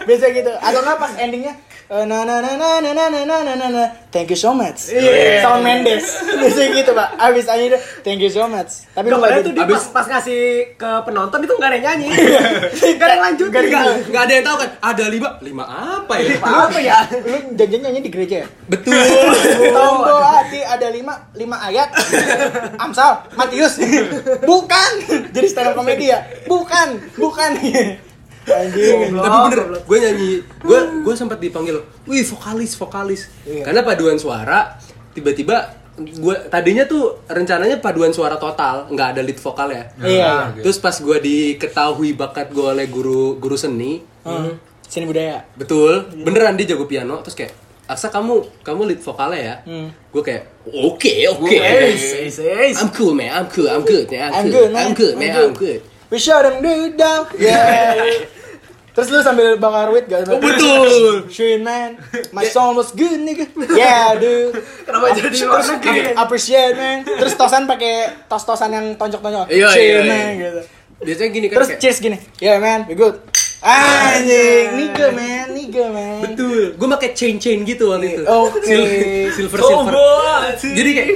Speaker 2: biasa gitu atau nggak pas endingnya eh, na na na na na na na na na na na thank you so much sama Mendes biasa gitu pak abis aja udah thank you so much tapi gitu. lu
Speaker 4: Gambarnya
Speaker 2: nggak
Speaker 4: tuh dia
Speaker 1: Abis-
Speaker 4: pas, pas ngasih ke penonton itu nggak ada yang nyanyi. Nggak ada yang lanjut.
Speaker 1: Enggak, enggak ada yang tahu kan. Ada lima, lima apa ya?
Speaker 4: Apa ya?
Speaker 2: lu janjian nyanyi di gereja ya?
Speaker 1: Betul.
Speaker 2: Tombo hati ada lima lima ayat Amsal Matius bukan jadi stand up comedy ya bukan bukan anjing
Speaker 1: Tapi bener, gue nyanyi, gue gue sempat dipanggil, wih vokalis vokalis,
Speaker 2: Iya.
Speaker 1: karena paduan suara tiba-tiba gue tadinya tuh rencananya paduan suara total, nggak ada lead vokal ya.
Speaker 2: iya
Speaker 1: Terus pas gue diketahui bakat gue oleh guru guru seni,
Speaker 2: Hmm. Seni budaya.
Speaker 1: betul,
Speaker 2: Iya.
Speaker 1: beneran dia jago piano, terus kayak Aksa kamu kamu lead vokalnya ya,
Speaker 2: Hmm.
Speaker 1: gue kayak oke oke, I'm cool man, I'm cool, I'm good, man, I'm,
Speaker 2: I'm
Speaker 1: cool,
Speaker 2: good, man.
Speaker 1: I'm good, man,
Speaker 2: I'm
Speaker 1: I'm good.
Speaker 2: good." We shut them down. Yeah. Terus lu sambil bakar wit gak?
Speaker 1: Oh, betul.
Speaker 2: Shit man, my song was good nigga. Yeah dude.
Speaker 4: Kenapa jadi luar negeri?
Speaker 2: Ap- Appreciate man. Terus tosan pakai tos-tosan yang tonjok-tonjok.
Speaker 1: Iya,
Speaker 2: Shit,
Speaker 1: iya, iya.
Speaker 2: man gitu.
Speaker 1: Biasanya gini kan
Speaker 2: Terus
Speaker 1: kayak-
Speaker 2: cheers gini. Yeah man, we good. Anjing, nigga man, nigga man. Oh,
Speaker 1: Betul. Gue pakai chain chain gitu
Speaker 2: Iya.
Speaker 1: waktu itu.
Speaker 2: Oke.
Speaker 1: Sil- silver
Speaker 2: Oh,
Speaker 1: silver.
Speaker 3: Oh,
Speaker 1: Jadi kayak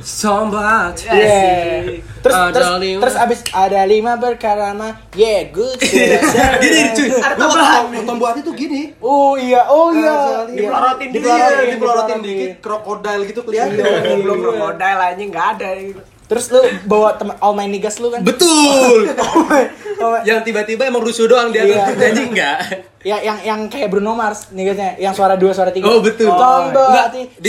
Speaker 1: sombat.
Speaker 2: Iya. Yeah. Terus
Speaker 1: Ada
Speaker 2: terus
Speaker 1: lima.
Speaker 2: terus abis ada lima berkarama. Yeah good. Yeah,
Speaker 1: Gini cuy.
Speaker 4: Ada
Speaker 1: Gue
Speaker 4: tambahan.
Speaker 1: tombol hati tuh gini.
Speaker 2: Oh iya, oh iya.
Speaker 4: Dipelorotin dikit.
Speaker 2: Dipelorotin,
Speaker 1: Iya, dipelorotin dikit,
Speaker 2: krokodil gitu
Speaker 4: Belum Iya, krokodil aja nggak ada.
Speaker 2: Terus lu bawa teman all my niggas lu kan?
Speaker 1: Betul.
Speaker 2: Oh my- oh my-
Speaker 1: Yang tiba-tiba emang rusuh doang dia
Speaker 2: Iya.
Speaker 1: atas nyanyi enggak?
Speaker 2: ya yang yang kayak Bruno Mars niggasnya, yang suara dua suara tiga.
Speaker 1: Oh, betul.
Speaker 2: Tombol
Speaker 1: Enggak,
Speaker 2: hati.
Speaker 1: di-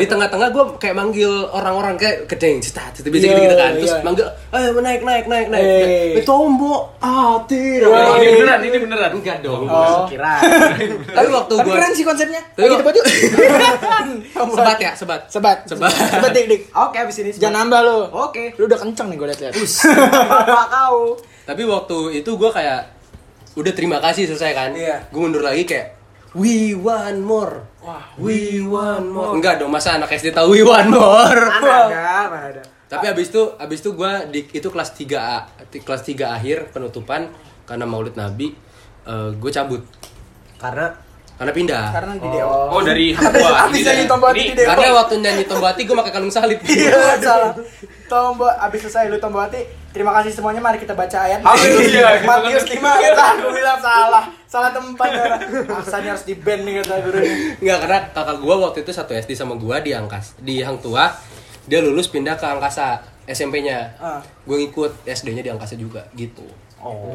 Speaker 1: Di tengah-tengah gue kayak manggil orang-orang kayak kedeng, cetat, itu biasa
Speaker 2: Iya,
Speaker 1: gitu-gitu kan. Terus
Speaker 2: iya.
Speaker 1: manggil, eh naik naik naik naik.
Speaker 2: Eh.
Speaker 1: Tombol hati.
Speaker 3: Oh, ini
Speaker 2: Iya.
Speaker 3: beneran, ini beneran.
Speaker 1: Enggak dong.
Speaker 2: Oh.
Speaker 4: Kira.
Speaker 1: Tapi waktu
Speaker 2: Tapi
Speaker 1: gue
Speaker 2: keren sih konsepnya.
Speaker 1: Tapi
Speaker 2: Lagi debat yuk. Tombol
Speaker 1: sebat
Speaker 2: hati.
Speaker 1: ya, sebat.
Speaker 2: Sebat.
Speaker 1: Sebat. Oh.
Speaker 2: Sebat dik dik.
Speaker 4: Oke, abis ini
Speaker 2: Jangan nambah lu.
Speaker 4: Oke.
Speaker 2: Lu udah kenceng nih gue liat-liat.
Speaker 4: Apa kau?
Speaker 1: Tapi waktu itu gue kayak udah terima kasih selesai kan.
Speaker 2: Iya.
Speaker 1: Gue mundur lagi kayak we want more. Wah, we want more. Enggak dong, masa anak SD tahu we want more.
Speaker 4: Mana ada, mana ada.
Speaker 1: Tapi abis itu abis itu gue di itu kelas 3A, di kelas 3 akhir penutupan karena Maulid Nabi gue cabut
Speaker 4: Karena
Speaker 1: karena pindah.
Speaker 2: Karena di Dewa.
Speaker 3: Oh, dari hak gua.
Speaker 2: Abis
Speaker 3: Ini-
Speaker 2: nyanyi tombol hati
Speaker 3: ini-
Speaker 2: di Dewa.
Speaker 1: Karena waktu nyanyi tombol hati gue pakai kalung salib.
Speaker 2: Iya, salah. Tombol abis selesai lu tombol hati. Terima kasih semuanya. Mari kita baca ayat.
Speaker 3: Haleluya.
Speaker 2: Matius 5 ayat aku bilang salah. Salah tempat. Aksannya harus di band nih kata gurunya.
Speaker 1: Enggak karena kakak gue waktu itu satu SD sama gue di angkas di Hang Tua dia lulus pindah ke angkasa SMP-nya.
Speaker 2: Ah.
Speaker 1: gue ngikut SD-nya di angkasa juga gitu. Oh.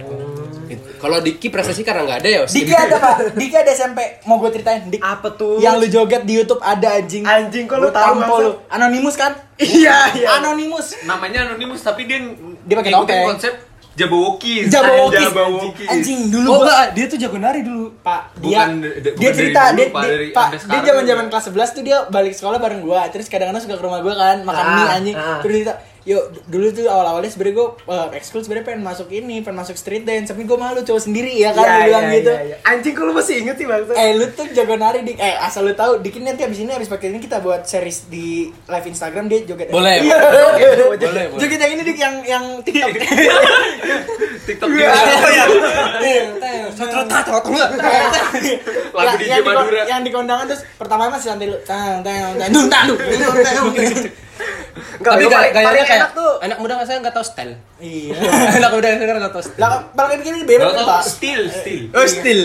Speaker 1: Kalau Diki prestasi karena nggak ada ya. Sim.
Speaker 2: Diki ada pak. Diki ada SMP. Mau gue ceritain. Dik.
Speaker 4: apa tuh?
Speaker 2: Yang lu joget di YouTube ada anjing.
Speaker 4: Anjing, kok lu tahu,
Speaker 2: tampol
Speaker 4: Bang?
Speaker 2: lu. Anonimus kan?
Speaker 4: Iya, iya.
Speaker 2: Anonimus.
Speaker 3: Namanya anonimus tapi dia
Speaker 2: Dia pakai
Speaker 3: ngikutin
Speaker 2: topeng.
Speaker 3: konsep Jabawokis.
Speaker 2: Jabawokis.
Speaker 3: Jabawokis.
Speaker 2: Anjing dulu
Speaker 1: Oh
Speaker 2: gua-
Speaker 1: enggak, dia tuh jago nari dulu.
Speaker 2: Pak,
Speaker 3: Bukan
Speaker 2: dia
Speaker 3: de- de-
Speaker 2: dia
Speaker 3: bukan
Speaker 2: cerita
Speaker 3: dari dulu,
Speaker 2: dia,
Speaker 3: Pak,
Speaker 2: dia-
Speaker 3: dari
Speaker 2: Pak,
Speaker 3: sampai
Speaker 2: dia
Speaker 3: sekarang
Speaker 2: zaman-zaman
Speaker 3: juga.
Speaker 2: kelas 11 tuh dia balik sekolah bareng gua. Terus kadang-kadang suka ke rumah gua kan, makan
Speaker 4: Ah,
Speaker 2: mie anjing.
Speaker 4: ah.
Speaker 2: Terus cerita, "Yuk, d- dulu tuh awal-awalnya sebenarnya gua eh, ekskul sebenarnya pengen masuk ini, pengen masuk street dance, tapi gua malu cowok sendiri ya kan
Speaker 4: Iya,
Speaker 2: dia bilang
Speaker 4: iya,
Speaker 2: gitu."
Speaker 4: iya, iya. Anjing kok lu masih inget sih bang?
Speaker 2: Eh lu tuh jago nari dik. Eh asal lu tahu Dikin nanti abis ini abis pakai ini kita buat series di live Instagram dia joget.
Speaker 1: Boleh.
Speaker 2: Iya.
Speaker 1: Boleh, boleh.
Speaker 2: Joget yang ini dik yang yang TikTok.
Speaker 3: Iya, TikTok
Speaker 2: Iya.
Speaker 3: dia. Lagu
Speaker 2: Yang-
Speaker 3: DJ
Speaker 2: Ya, yang di-
Speaker 3: Madura.
Speaker 2: Yang di kondangan terus pertama masih santai lu. Tang tang tang dung tang dung, dung, tang, dung.
Speaker 1: Tapi
Speaker 4: gak,
Speaker 1: gak,
Speaker 4: paling, paling enak tuh.
Speaker 1: anak muda nggak saya nggak tahu style.
Speaker 2: Iya.
Speaker 1: anak muda sekarang nggak tahu style.
Speaker 2: Lah balik ini beda
Speaker 3: Gak
Speaker 2: kan,
Speaker 3: tau,
Speaker 2: Pak.
Speaker 3: still, still.
Speaker 2: Iya,
Speaker 1: Oh style.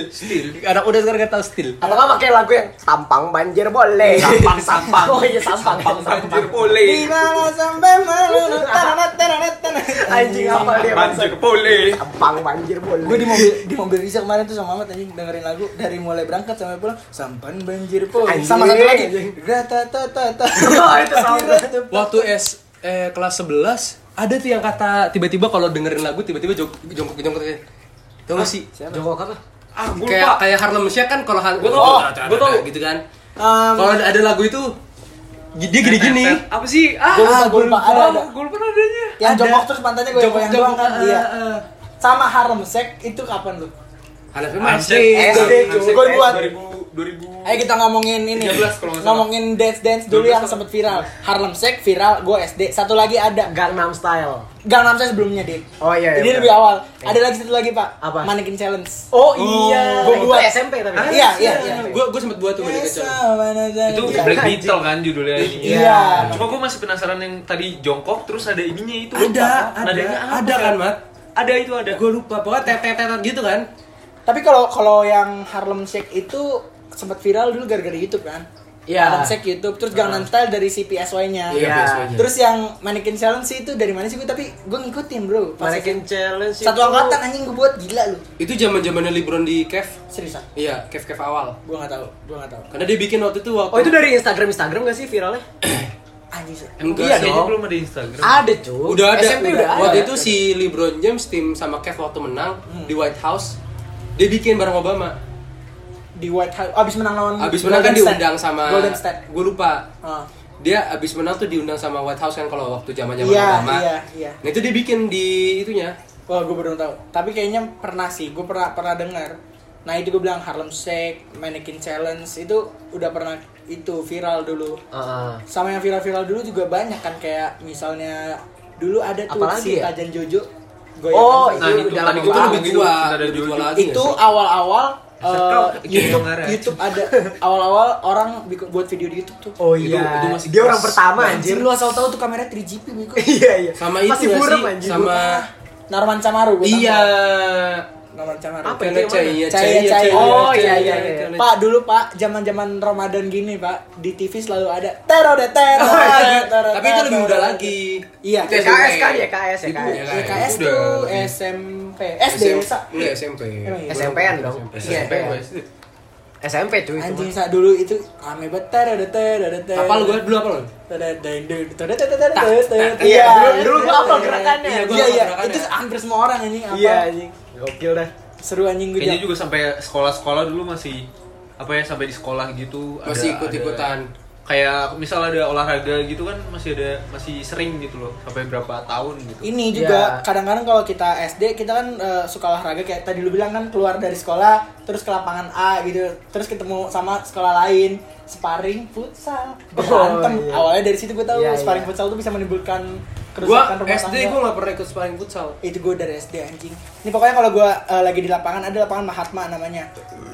Speaker 1: Anak muda sekarang nggak tahu style.
Speaker 4: Atau nggak pakai lagu yang sampang banjir boleh. Sampang sampang. Oh iya sampang sampang.
Speaker 3: Anjir boleh.
Speaker 2: Di mana sampai mana tanah tanah tanah.
Speaker 4: Anjing apa dia
Speaker 3: Manjur
Speaker 4: maksud?
Speaker 3: boleh.
Speaker 4: Gampang banjir boleh.
Speaker 2: gue di mobil di mobil Riza kemarin tuh sama Ahmad anjing dengerin lagu dari mulai berangkat sampai pulang sampan banjir po
Speaker 4: Anjing.
Speaker 2: sama satu lagi rata ta ta ta
Speaker 4: Oh, itu sama.
Speaker 1: Waktu S eh, kelas 11 ada tuh yang kata tiba-tiba kalau dengerin lagu tiba-tiba jong- jongkok-jongkok kayak Tahu sih?
Speaker 4: Jongkok apa?
Speaker 3: Ah, gue lupa.
Speaker 1: Kayak kayak Harlem Shake kan kalau Har-
Speaker 3: Gua tau,
Speaker 1: Oh,
Speaker 3: gua tau.
Speaker 1: gitu kan.
Speaker 2: Um,
Speaker 1: Kalau ada ada lagu itu gi- dia gini-gini.
Speaker 3: Apa sih? Ah,
Speaker 2: Gua lupa, gua lupa. Ada, ada.
Speaker 3: Gue lupa nadanya.
Speaker 2: yang
Speaker 1: ada.
Speaker 2: jongkok terus pantatnya gue yang doang kan
Speaker 1: eh,
Speaker 2: iya
Speaker 1: eh.
Speaker 2: sama harem sek itu kapan lu
Speaker 1: Harlem Shake
Speaker 3: Handshake.
Speaker 1: masih.
Speaker 2: SD, cuy.
Speaker 3: Handshake
Speaker 2: Gua
Speaker 3: PS
Speaker 2: buat.
Speaker 3: 2000 2000.
Speaker 2: Ayo kita ngomongin ini
Speaker 3: 13 kalau nggak salah.
Speaker 2: ngomongin dance dance dulu
Speaker 3: 12
Speaker 2: yang
Speaker 3: apa?
Speaker 2: sempet viral Harlem Shake viral gue SD satu lagi ada
Speaker 4: Gangnam Style.
Speaker 2: Gangnam Style sebelumnya dit
Speaker 4: Oh iya. iya,
Speaker 2: ini
Speaker 4: benar.
Speaker 2: lebih awal ada lagi satu lagi pak
Speaker 4: Apa?
Speaker 2: Mannequin Challenge
Speaker 4: Oh iya.
Speaker 2: Gua
Speaker 4: Itu
Speaker 2: buat.
Speaker 4: SMP tapi.
Speaker 2: Ah, iya, iya, iya.
Speaker 1: Gue gue sempet buat tuh Balik ke Jalan.
Speaker 3: Itu
Speaker 2: itu
Speaker 3: Black Beetle kan judulnya ini.
Speaker 2: Iya.
Speaker 3: Cuma gue masih penasaran yang tadi jongkok terus ada ininya itu.
Speaker 1: Ada,
Speaker 3: Apa?
Speaker 1: ada,
Speaker 3: Nadanya apa
Speaker 1: ada
Speaker 3: ya?
Speaker 1: kan, Mat?
Speaker 3: Ada itu ada.
Speaker 1: Gue lupa, pokoknya tetet-tetet gitu kan.
Speaker 2: Tapi kalau kalau yang Harlem Shake itu sempat viral dulu gara-gara YouTube kan.
Speaker 4: Iya. Ah.
Speaker 2: Harlem Shake YouTube, terus Gangnam Style dari si PSY-nya.
Speaker 4: Iya.
Speaker 2: Terus yang Mannequin Challenge sih itu dari mana sih gue tapi gue ngikutin bro. Pas
Speaker 4: Mannequin Challenge.
Speaker 2: satu
Speaker 4: itu-
Speaker 2: angkatan anjing gue buat gila lu.
Speaker 1: Itu zaman-zamannya LeBron di Cave.
Speaker 2: Seriusan.
Speaker 1: Iya, Cave-Cave awal.
Speaker 2: Gue nggak tahu, gue nggak tahu.
Speaker 1: Karena dia bikin waktu itu waktu
Speaker 4: Oh itu dari Instagram Instagram gak sih viralnya?
Speaker 2: Anjing sih.
Speaker 1: Enggak
Speaker 3: Iya,
Speaker 1: sih.
Speaker 3: kayaknya belum ada Instagram.
Speaker 1: Ah,
Speaker 4: Ada cuy.
Speaker 1: Udah ada.
Speaker 4: SMP udah, ada.
Speaker 1: Waktu itu si LeBron James tim sama Kev waktu menang di White House, dia bikin bareng Obama.
Speaker 2: Di White House abis menang lawan
Speaker 1: Abis menang kan
Speaker 2: Hmm. Golden State.
Speaker 1: diundang sama
Speaker 2: Golden State.
Speaker 1: Gue lupa.
Speaker 2: Ah.
Speaker 1: Dia abis menang tuh diundang sama White House kan kalau waktu zamannya
Speaker 2: Iya,
Speaker 1: Obama.
Speaker 2: iya, iya.
Speaker 1: Nah itu dia bikin di itunya.
Speaker 2: Wah, gue belum tahu. Tapi kayaknya pernah sih, gue pernah pernah dengar. Nah itu gue bilang Harlem Shake, Mannequin Challenge itu udah pernah itu viral dulu.
Speaker 4: Heeh.
Speaker 2: Sama yang viral-viral dulu juga banyak kan kayak misalnya dulu ada tuh si
Speaker 4: Apalagi ya?
Speaker 2: Tajan Jojo. Goyangan.
Speaker 3: Nah, itu
Speaker 4: Oh, itu udah
Speaker 3: tadi
Speaker 4: lama
Speaker 3: gua
Speaker 1: Itu
Speaker 4: banget.
Speaker 1: lebih tua,
Speaker 3: itu ada
Speaker 1: lebih tua
Speaker 3: judul.
Speaker 1: lagi.
Speaker 2: itu
Speaker 1: ya, sih?
Speaker 2: awal-awal
Speaker 3: Setruk,
Speaker 2: eh, YouTube,
Speaker 3: kayak ngarep.
Speaker 2: YouTube ada awal-awal orang bikin- buat video di YouTube tuh.
Speaker 4: Oh
Speaker 1: Itu-
Speaker 4: iya.
Speaker 1: itu masih
Speaker 4: Dia
Speaker 1: kelas.
Speaker 4: orang pertama anjir.
Speaker 2: Anjir lu asal tahu tuh kamera 3GP Biko.
Speaker 4: Iya iya.
Speaker 1: Sama itu
Speaker 4: masih
Speaker 1: nggak
Speaker 4: burem
Speaker 1: sih?
Speaker 4: anjir.
Speaker 1: Sama
Speaker 2: Narman Camaru gua
Speaker 1: iya.
Speaker 2: tampol. Narman Camaru.
Speaker 4: Apa
Speaker 1: Karena
Speaker 4: itu yang
Speaker 1: Cahaya,
Speaker 2: mana?
Speaker 1: Cahaya,
Speaker 2: Cahaya, Cahaya.
Speaker 1: Cahaya,
Speaker 4: Oh, iya,
Speaker 1: Cahaya,
Speaker 4: iya,
Speaker 1: Cahaya,
Speaker 4: iya.
Speaker 1: Cahaya.
Speaker 2: Pak dulu Pak zaman zaman Ramadan gini Pak di TV selalu ada teror deh teror.
Speaker 1: Oh, iya.
Speaker 2: deh, teror,
Speaker 1: Tapi itu
Speaker 2: teror,
Speaker 1: lebih
Speaker 2: teror,
Speaker 1: muda
Speaker 2: teror.
Speaker 1: lagi. Iya, Itu
Speaker 2: Iya.
Speaker 4: YKS
Speaker 1: SMP.
Speaker 4: kan, YKS.
Speaker 1: Itu ya,
Speaker 2: YKS
Speaker 3: Udah.
Speaker 2: tuh
Speaker 1: iya.
Speaker 2: SMP SD Sa.
Speaker 1: Enggak SMP.
Speaker 2: Emang iya?
Speaker 4: SMP-an dong.
Speaker 3: SMP
Speaker 4: Iya.
Speaker 3: gua SD.
Speaker 4: SMP cuy. itu
Speaker 2: Anjing
Speaker 4: mah.
Speaker 2: Sa dulu itu rame banget teror deh teror deh teror.
Speaker 1: Apal gue dulu apa lo?
Speaker 2: Teror, deng, deng, teror, teror, teror, teror, teror.
Speaker 1: tak.
Speaker 2: Iya.
Speaker 4: Dulu- dulu gua hafal gerakannya.
Speaker 2: Iya,
Speaker 1: Gua
Speaker 2: iya,
Speaker 1: hafal
Speaker 2: iya.
Speaker 1: gerakannya.
Speaker 2: Itu hampir semua orang anjing apa.
Speaker 4: Iya anjing. Gokil dah.
Speaker 2: Seru anjing gue.
Speaker 3: Kayaknya
Speaker 2: Jam.
Speaker 3: juga sampai sekolah-sekolah dulu masih apa ya sampai di sekolah gitu ada-
Speaker 1: Masih ikut-ikutan.
Speaker 3: ada- kayak misal ada olahraga gitu kan masih ada masih sering gitu loh sampai berapa tahun gitu.
Speaker 2: Ini juga
Speaker 4: Iya.
Speaker 2: kadang-kadang kalau kita SD kita kan eh, suka olahraga kayak tadi lu bilang kan keluar dari sekolah terus ke lapangan A gitu terus ketemu sama sekolah lain sparring futsal berantem
Speaker 4: Oh, iya.
Speaker 2: awalnya dari situ gue tahu
Speaker 4: Iya,
Speaker 2: sparring
Speaker 4: iya.
Speaker 2: futsal tuh bisa menimbulkan
Speaker 1: Gue
Speaker 2: kerusakan rumah
Speaker 1: SD
Speaker 2: tangga.
Speaker 1: gue gak pernah ikut sparring futsal.
Speaker 2: itu gue dari SD anjing ini pokoknya kalau gue eh, lagi di lapangan ada lapangan Mahatma namanya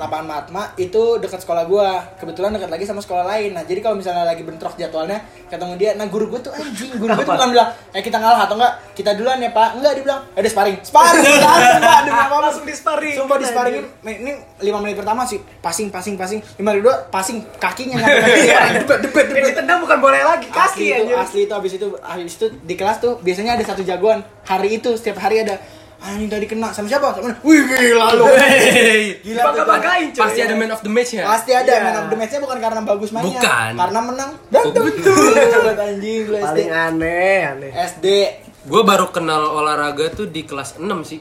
Speaker 2: lapangan Mahatma itu dekat sekolah gue kebetulan dekat lagi sama sekolah lain nah jadi kalau misalnya lagi bentrok jadwalnya ketemu dia nah guru gue tuh anjing guru gue tuh bukan bilang eh kita ngalah atau enggak kita duluan ya pak enggak dibilang ada sparring sparring langsung pak demi apa
Speaker 4: Langsung di sparring.
Speaker 2: Sumpah di sparringin, ini 5 menit pertama sih passing passing passing. 5 menit kedua passing kakinya nggak kena. Debet debet
Speaker 4: Yang
Speaker 2: debet.
Speaker 4: ditendang bukan boleh lagi
Speaker 2: Asli
Speaker 4: kaki
Speaker 2: itu,
Speaker 4: anjir.
Speaker 2: asli itu habis itu habis itu di kelas tuh biasanya ada satu jagoan. Hari itu setiap hari ada "Ah, anjing tadi kena sama siapa? Sama mana?" Wih gila lu. Gila tuh.
Speaker 4: Bangga-banggain cuy.
Speaker 1: Pasti ada man of the match ya.
Speaker 2: Pasti ada
Speaker 4: Iya.
Speaker 2: man of the match-nya bukan karena bagus mainnya.
Speaker 1: Bukan.
Speaker 2: Karena menang. Dan
Speaker 1: Betul.
Speaker 2: betul anjing lu SD.
Speaker 4: Paling aneh aneh.
Speaker 2: SD
Speaker 1: Gue baru kenal olahraga tuh di kelas 6 sih.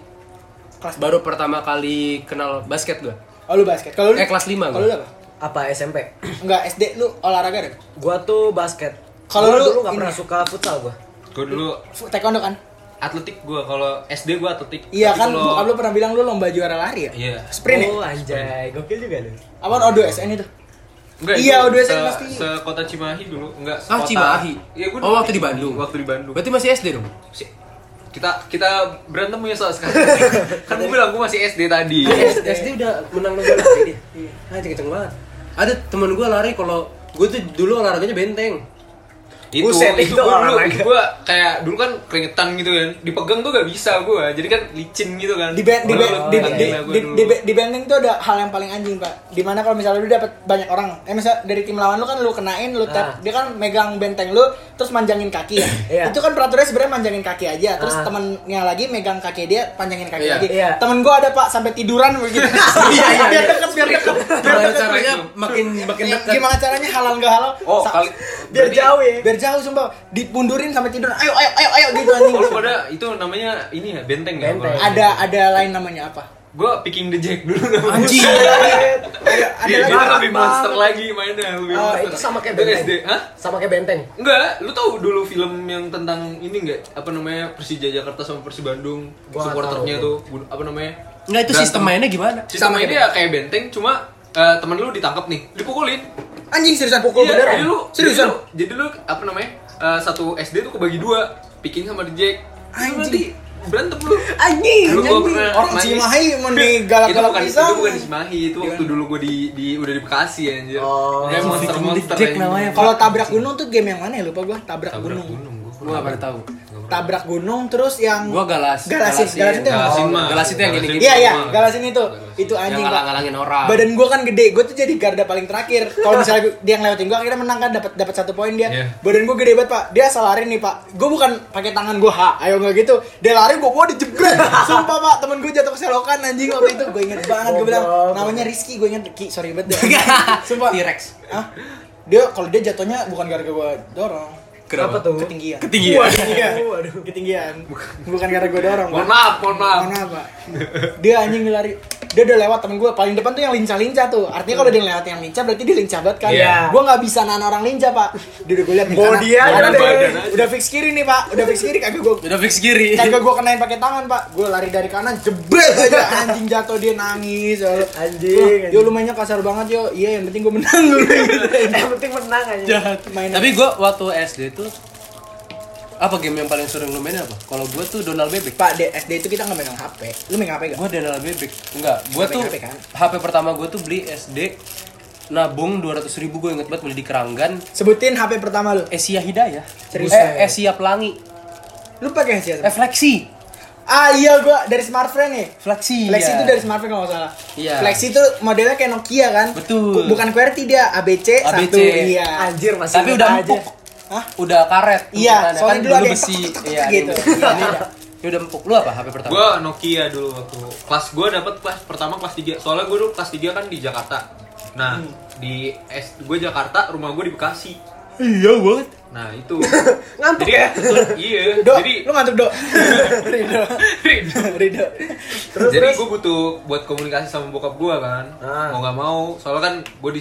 Speaker 2: kelas
Speaker 1: Baru pertama kali kenal basket gue.
Speaker 2: Oh lu basket. Kalau lu
Speaker 1: Eh, kelas lima gua.
Speaker 2: Kalau lu apa?
Speaker 4: Apa SMP?
Speaker 2: Enggak, SD lu olahraga deh.
Speaker 4: Gua tuh basket.
Speaker 2: Kalau
Speaker 4: Gua
Speaker 2: lu
Speaker 4: dulu nggak
Speaker 2: ini
Speaker 4: pernah
Speaker 2: ya?
Speaker 4: suka futsal gua.
Speaker 3: Gue dulu
Speaker 2: Taekwondo kan?
Speaker 3: atletik gue kalau SD gue atletik.
Speaker 2: Iya kan,
Speaker 3: Tapi kalau-
Speaker 2: bokap lu pernah bilang lu lomba juara lari ya?
Speaker 3: Iya.
Speaker 2: Sprint ya?
Speaker 4: Oh anjay, gokil juga lu.
Speaker 2: Apaan O2SN itu?
Speaker 3: Enggak,
Speaker 2: Iya,
Speaker 3: itu
Speaker 2: udah saya
Speaker 3: se-
Speaker 2: pasti.
Speaker 3: Sekota Cimahi dulu, enggak
Speaker 1: Ah,
Speaker 3: sekota-
Speaker 1: Cimahi.
Speaker 3: Iya, gua
Speaker 1: Oh,
Speaker 3: dulu
Speaker 1: waktu di Bandung.
Speaker 3: Waktu di Bandung.
Speaker 1: Berarti masih SD dong?
Speaker 3: Si- Kita kita berantem ya soal sekarang. kan gue bilang gue masih SD tadi.
Speaker 1: SD Iya, udah menang Iya. lomba lari dia. Nah, Anjing kenceng banget. Ada teman gue lari kalau gue tuh dulu olahraganya benteng.
Speaker 3: itu
Speaker 4: Buset,
Speaker 3: itu,
Speaker 4: itu
Speaker 3: gua dulu
Speaker 4: olahraga.
Speaker 3: gua kayak dulu kan keringetan gitu kan dipegang tuh gak bisa gua jadi kan licin gitu kan
Speaker 2: di ben, di, ben,
Speaker 3: Lalu-
Speaker 2: di,
Speaker 3: lalu
Speaker 2: di,
Speaker 3: gila gua
Speaker 2: di,
Speaker 3: dulu.
Speaker 2: di, di benteng tuh ada hal yang paling anjing pak dimana kalau misalnya lu dapet banyak orang eh misal dari tim lawan lu kan lu kenain lu tap
Speaker 4: Ah.
Speaker 2: dia kan megang benteng lu terus manjangin kaki ya
Speaker 4: Iya.
Speaker 2: itu kan peraturannya sebenarnya manjangin kaki aja terus
Speaker 4: Ah.
Speaker 2: temennya lagi megang kaki dia panjangin kaki
Speaker 1: Iya.
Speaker 2: lagi
Speaker 4: Iya.
Speaker 2: temen gua ada pak sampai tiduran begitu biar deket biar deket biar
Speaker 1: Gimana
Speaker 2: deket.
Speaker 1: caranya makin makin dekat.
Speaker 2: gimana caranya halal nggak halal
Speaker 3: oh
Speaker 2: Sa-
Speaker 3: kali
Speaker 4: Biar
Speaker 3: berarti-
Speaker 4: jauh ya.
Speaker 2: biar jauh sumpah dipundurin sampai tidur ayo ayo ayo ayo gitu anjing
Speaker 3: Oh, lu pada itu namanya ini ya benteng ya?
Speaker 4: Benteng.
Speaker 2: ada ada lain namanya apa
Speaker 3: Gue picking the jack dulu namanya.
Speaker 1: Anjing.
Speaker 2: ada, ada
Speaker 3: Dia, dia
Speaker 4: Parah
Speaker 3: lebih monster lagi mainnya, lebih
Speaker 4: Oh,
Speaker 3: monster.
Speaker 4: itu sama kayak
Speaker 3: Itu
Speaker 4: benteng.
Speaker 3: SD, hah?
Speaker 4: Sama kayak benteng.
Speaker 3: Enggak, lu tahu dulu film yang tentang ini enggak? Apa namanya? Persija Jakarta sama Persi Bandung,
Speaker 4: Gua nggak
Speaker 3: supporternya
Speaker 4: tahu.
Speaker 3: tuh bu- apa namanya?
Speaker 1: Enggak itu sistem mainnya gimana?
Speaker 3: Sama ini ya kayak benteng, cuma eh, temen lu ditangkap nih, dipukulin.
Speaker 2: Anjing seriusan pukul
Speaker 3: Iya,
Speaker 2: beneran.
Speaker 3: jadi lu
Speaker 2: seriusan.
Speaker 3: Jadi lu, jadi lu, apa namanya? eh, satu SD tuh kebagi dua, picking sama the jack. Itu
Speaker 2: Anjing.
Speaker 3: nanti berantem lu.
Speaker 4: Anjing.
Speaker 3: Dulu gua
Speaker 2: Anjing,
Speaker 3: pernah
Speaker 2: orang
Speaker 3: main-
Speaker 2: Cimahi mau digalak-galak
Speaker 3: itu bukan,
Speaker 2: pisang.
Speaker 3: Itu bukan di Cimahi, itu waktu dulu gue di, di udah di Bekasi anjir.
Speaker 4: Oh.
Speaker 3: kayak monster monster
Speaker 1: Jack namanya.
Speaker 2: Kalau tabrak gunung tuh game yang mana ya lupa gua tabrak, gunung.
Speaker 1: Gua gak pernah tahu.
Speaker 2: Tabrak gunung terus yang
Speaker 1: Gua galas.
Speaker 2: Galasin, galasin tuh. yang-
Speaker 3: Galasin mah.
Speaker 1: Galasin tuh yang
Speaker 3: Galasin.
Speaker 1: gini-gini.
Speaker 2: Iya iya,
Speaker 3: Galasin.
Speaker 2: galasin itu. Itu
Speaker 1: Yang
Speaker 2: anjing Pak.
Speaker 1: ngalang-ngalangin orang.
Speaker 2: Badan gua kan gede, gua tuh jadi garda paling terakhir. Kalau misalnya gua- dia ngelewatin gua akhirnya menang kan dapat dapat satu poin dia.
Speaker 3: Iya.
Speaker 2: Badan gua gede banget, Pak. Dia asal lari nih, Pak. Gua bukan pakai tangan gua, ha, ayo nggak gitu. Dia lari gua bawa dijebret. Sumpah, Pak, temen gua jatuh ke selokan anjing waktu itu. Gua inget banget gua bilang
Speaker 4: Goblok. Iya.
Speaker 2: namanya Rizky, gua inget Ki, sorry banget. deh.
Speaker 1: Sumpah.
Speaker 4: Oh.
Speaker 1: T-Rex.
Speaker 2: Hah? Dia kalau dia jatuhnya bukan gara-gara gua dorong.
Speaker 4: Kenapa tuh?
Speaker 2: Ketinggian.
Speaker 1: Ketinggian.
Speaker 2: Wah, ketinggian. Ketinggian. Bukan gara gua dorong.
Speaker 3: Mohon maaf, mohon maaf.
Speaker 2: Mana pak? Dia anjing lari. Dia udah lewat temen gue paling depan tuh yang lincah-lincah tuh. Artinya kalau dia lewat yang lincah berarti dia lincah banget kan.
Speaker 3: Iya.
Speaker 2: Gue nggak bisa nahan orang lincah pak. Dia udah gue liat nih.
Speaker 4: Bawa
Speaker 2: kanan.
Speaker 4: dia aja
Speaker 2: Kanan
Speaker 4: deh.
Speaker 2: badan aja. Udah fix kiri nih pak. Udah fix kiri kagak gue
Speaker 1: Udah fix kiri.
Speaker 2: kagak gue kenain pakai tangan pak. Gue lari dari kanan jebret aja anjing jatuh dia nangis. Lalu,
Speaker 4: Anjing,
Speaker 2: "Wah,
Speaker 4: anjing.
Speaker 2: Yo lu mainnya kasar banget yo. Iya yang penting gue menang dulu.
Speaker 4: Yang penting menang aja.
Speaker 1: jahat
Speaker 2: Mainan.
Speaker 1: tapi gue waktu SD tuh apa game yang paling sering lu mainin apa kalau gue tuh Donald bebek
Speaker 2: Pak di SD itu kita nggak megang HP. Lu megang HP gak?
Speaker 1: gue Donald bebek enggak gue
Speaker 2: HP,
Speaker 1: tuh
Speaker 2: HP, kan?
Speaker 1: HP pertama gue tuh beli SD nabung 200 ribu gue inget banget beli di Keranggan
Speaker 2: Sebutin HP pertama lu.
Speaker 1: Esia Hidayah
Speaker 2: Serius?
Speaker 1: eh Esia Pelangi
Speaker 2: Lu pakai siapa?
Speaker 1: eh Flexi
Speaker 2: Ah iya gua dari smartphone nih.
Speaker 1: Flexi
Speaker 2: Flexi
Speaker 1: ya.
Speaker 2: itu dari smartphone kalau nggak salah.
Speaker 1: Iya.
Speaker 2: Flexi itu modelnya kayak Nokia kan?
Speaker 1: Betul.
Speaker 2: Bu- Bukan QWERTY dia ABC,
Speaker 1: ABC.
Speaker 2: satu. Iya.
Speaker 4: Anjir masih
Speaker 1: tapi
Speaker 4: ingat
Speaker 1: udah empuk
Speaker 2: Hah?
Speaker 1: udah karet
Speaker 2: Iya,
Speaker 1: Kan
Speaker 2: soalnya dulu ada yang
Speaker 1: besi
Speaker 2: tek, tek, tek,
Speaker 1: iya ada
Speaker 2: tek,
Speaker 1: yang
Speaker 2: gitu.
Speaker 1: besi. Iya, ini udah- ini udah empuk lu apa HP pertama
Speaker 3: Gue Nokia dulu waktu kelas gue dapat kelas pertama kelas 3 soalnya gue dulu kelas 3 kan di Jakarta. Nah di S gue Jakarta rumah gue di Bekasi.
Speaker 1: iya banget
Speaker 3: Nah itu.
Speaker 4: Ngantuk
Speaker 3: Jadi
Speaker 4: ya?
Speaker 3: iya.
Speaker 2: Do,
Speaker 3: Jadi
Speaker 2: lu ngantuk, Do. Rido. Rido.
Speaker 3: jadi gue butuh buat komunikasi sama bokap gue kan
Speaker 4: Ah.
Speaker 3: mau nggak mau soalnya kan gue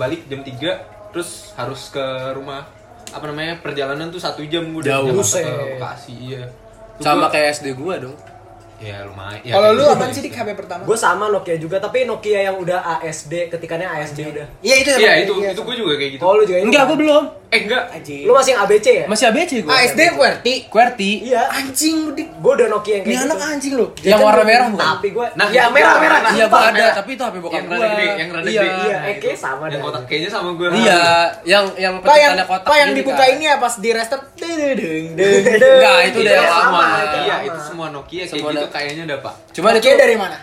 Speaker 3: balik jam 3 terus harus ke rumah apa namanya perjalanan tuh satu jam gue dari
Speaker 1: Jauh.
Speaker 3: Jakarta ke
Speaker 4: Buset.
Speaker 3: Bekasi iya Tuh
Speaker 1: sama
Speaker 3: gua-
Speaker 1: kayak SD gue dong
Speaker 2: Iya.
Speaker 3: ya lumayan ya,
Speaker 1: Iya,
Speaker 2: Kalau
Speaker 3: kayak
Speaker 2: lu
Speaker 3: gitu.
Speaker 2: apaan sih dik HP pertama?
Speaker 4: Gue sama Nokia juga, tapi Nokia yang udah ASD, ketikannya ASD udah.
Speaker 2: Iya itu sama.
Speaker 3: iya itu
Speaker 2: Iya,
Speaker 3: itu
Speaker 2: sama.
Speaker 3: gue juga kayak gitu
Speaker 4: Oh lu juga itu?
Speaker 1: enggak
Speaker 4: kan?
Speaker 1: gue belum
Speaker 3: eh enggak
Speaker 2: Anjing.
Speaker 4: Lu masih yang ABC ya?
Speaker 1: masih Ah. ABC gue
Speaker 2: Ah, SD QWERTY.
Speaker 1: QWERTY
Speaker 4: Iya.
Speaker 2: Anjing lu dik.
Speaker 4: Gue udah Nokia yang
Speaker 2: Ini
Speaker 4: kayak
Speaker 2: anak
Speaker 4: gitu.
Speaker 2: anjing lu.
Speaker 1: yang warna merah bukan?
Speaker 4: Tapi gue,
Speaker 3: Nah,
Speaker 4: ya
Speaker 3: yang
Speaker 4: merah merah.
Speaker 3: merah.
Speaker 1: Iya, gua
Speaker 3: Sumpah,
Speaker 1: ada,
Speaker 3: merah.
Speaker 1: tapi itu HP bokap
Speaker 3: yang
Speaker 1: gua.
Speaker 3: rada gede yang rada
Speaker 1: Iya.
Speaker 3: gede
Speaker 4: Iya,
Speaker 3: Nah,
Speaker 4: Eke
Speaker 3: itu.
Speaker 4: sama
Speaker 3: yang
Speaker 4: dah.
Speaker 3: kotak kayaknya sama gue
Speaker 1: Iya, yang yang
Speaker 2: Pak yang,
Speaker 1: petikannya kotak.
Speaker 2: pak yang
Speaker 1: gini,
Speaker 2: dibuka
Speaker 1: kan?
Speaker 2: ini apa? Di restart. Deng, deng, deng.
Speaker 1: Enggak, itu
Speaker 2: Iya,
Speaker 1: udah yang
Speaker 4: sama,
Speaker 1: lama.
Speaker 4: itu yang
Speaker 3: iya
Speaker 4: lama.
Speaker 3: itu semua Nokia kayak
Speaker 1: Semua
Speaker 3: gitu
Speaker 1: Nokia.
Speaker 3: kayaknya ada pak
Speaker 1: Cuman itu
Speaker 2: Nokia dari mana?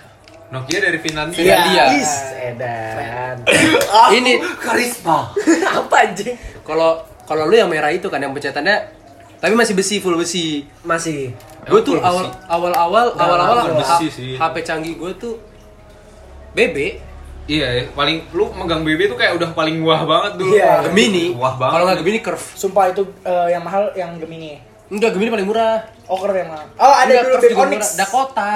Speaker 3: Nokia dari Finlandia
Speaker 1: Iya. Iya.
Speaker 4: Is, edan.
Speaker 1: ini
Speaker 3: karisma
Speaker 4: Apa anjing?
Speaker 1: kalau kalau lu yang merah itu kan yang pencetannya tapi masih besi full besi.
Speaker 4: Masih.
Speaker 1: Gue tuh
Speaker 3: full
Speaker 1: awal awal awal
Speaker 4: Nah,
Speaker 1: awal awal
Speaker 3: full besi sih.
Speaker 1: HP canggih gue tuh BB
Speaker 3: Iya, ya. paling lu megang BB tuh kayak udah paling wah banget dulu.
Speaker 4: Iya.
Speaker 1: Gemini.
Speaker 3: Wah banget.
Speaker 1: Kalau nggak Gemini curve.
Speaker 2: Sumpah itu eh, yang mahal yang Gemini.
Speaker 1: Enggak Gemini paling murah.
Speaker 2: Oker yang mahal. Oh, ada
Speaker 1: Enggak,
Speaker 2: dulu
Speaker 1: Curve
Speaker 2: dari
Speaker 1: juga
Speaker 2: Onyx.
Speaker 1: murah. Dakota.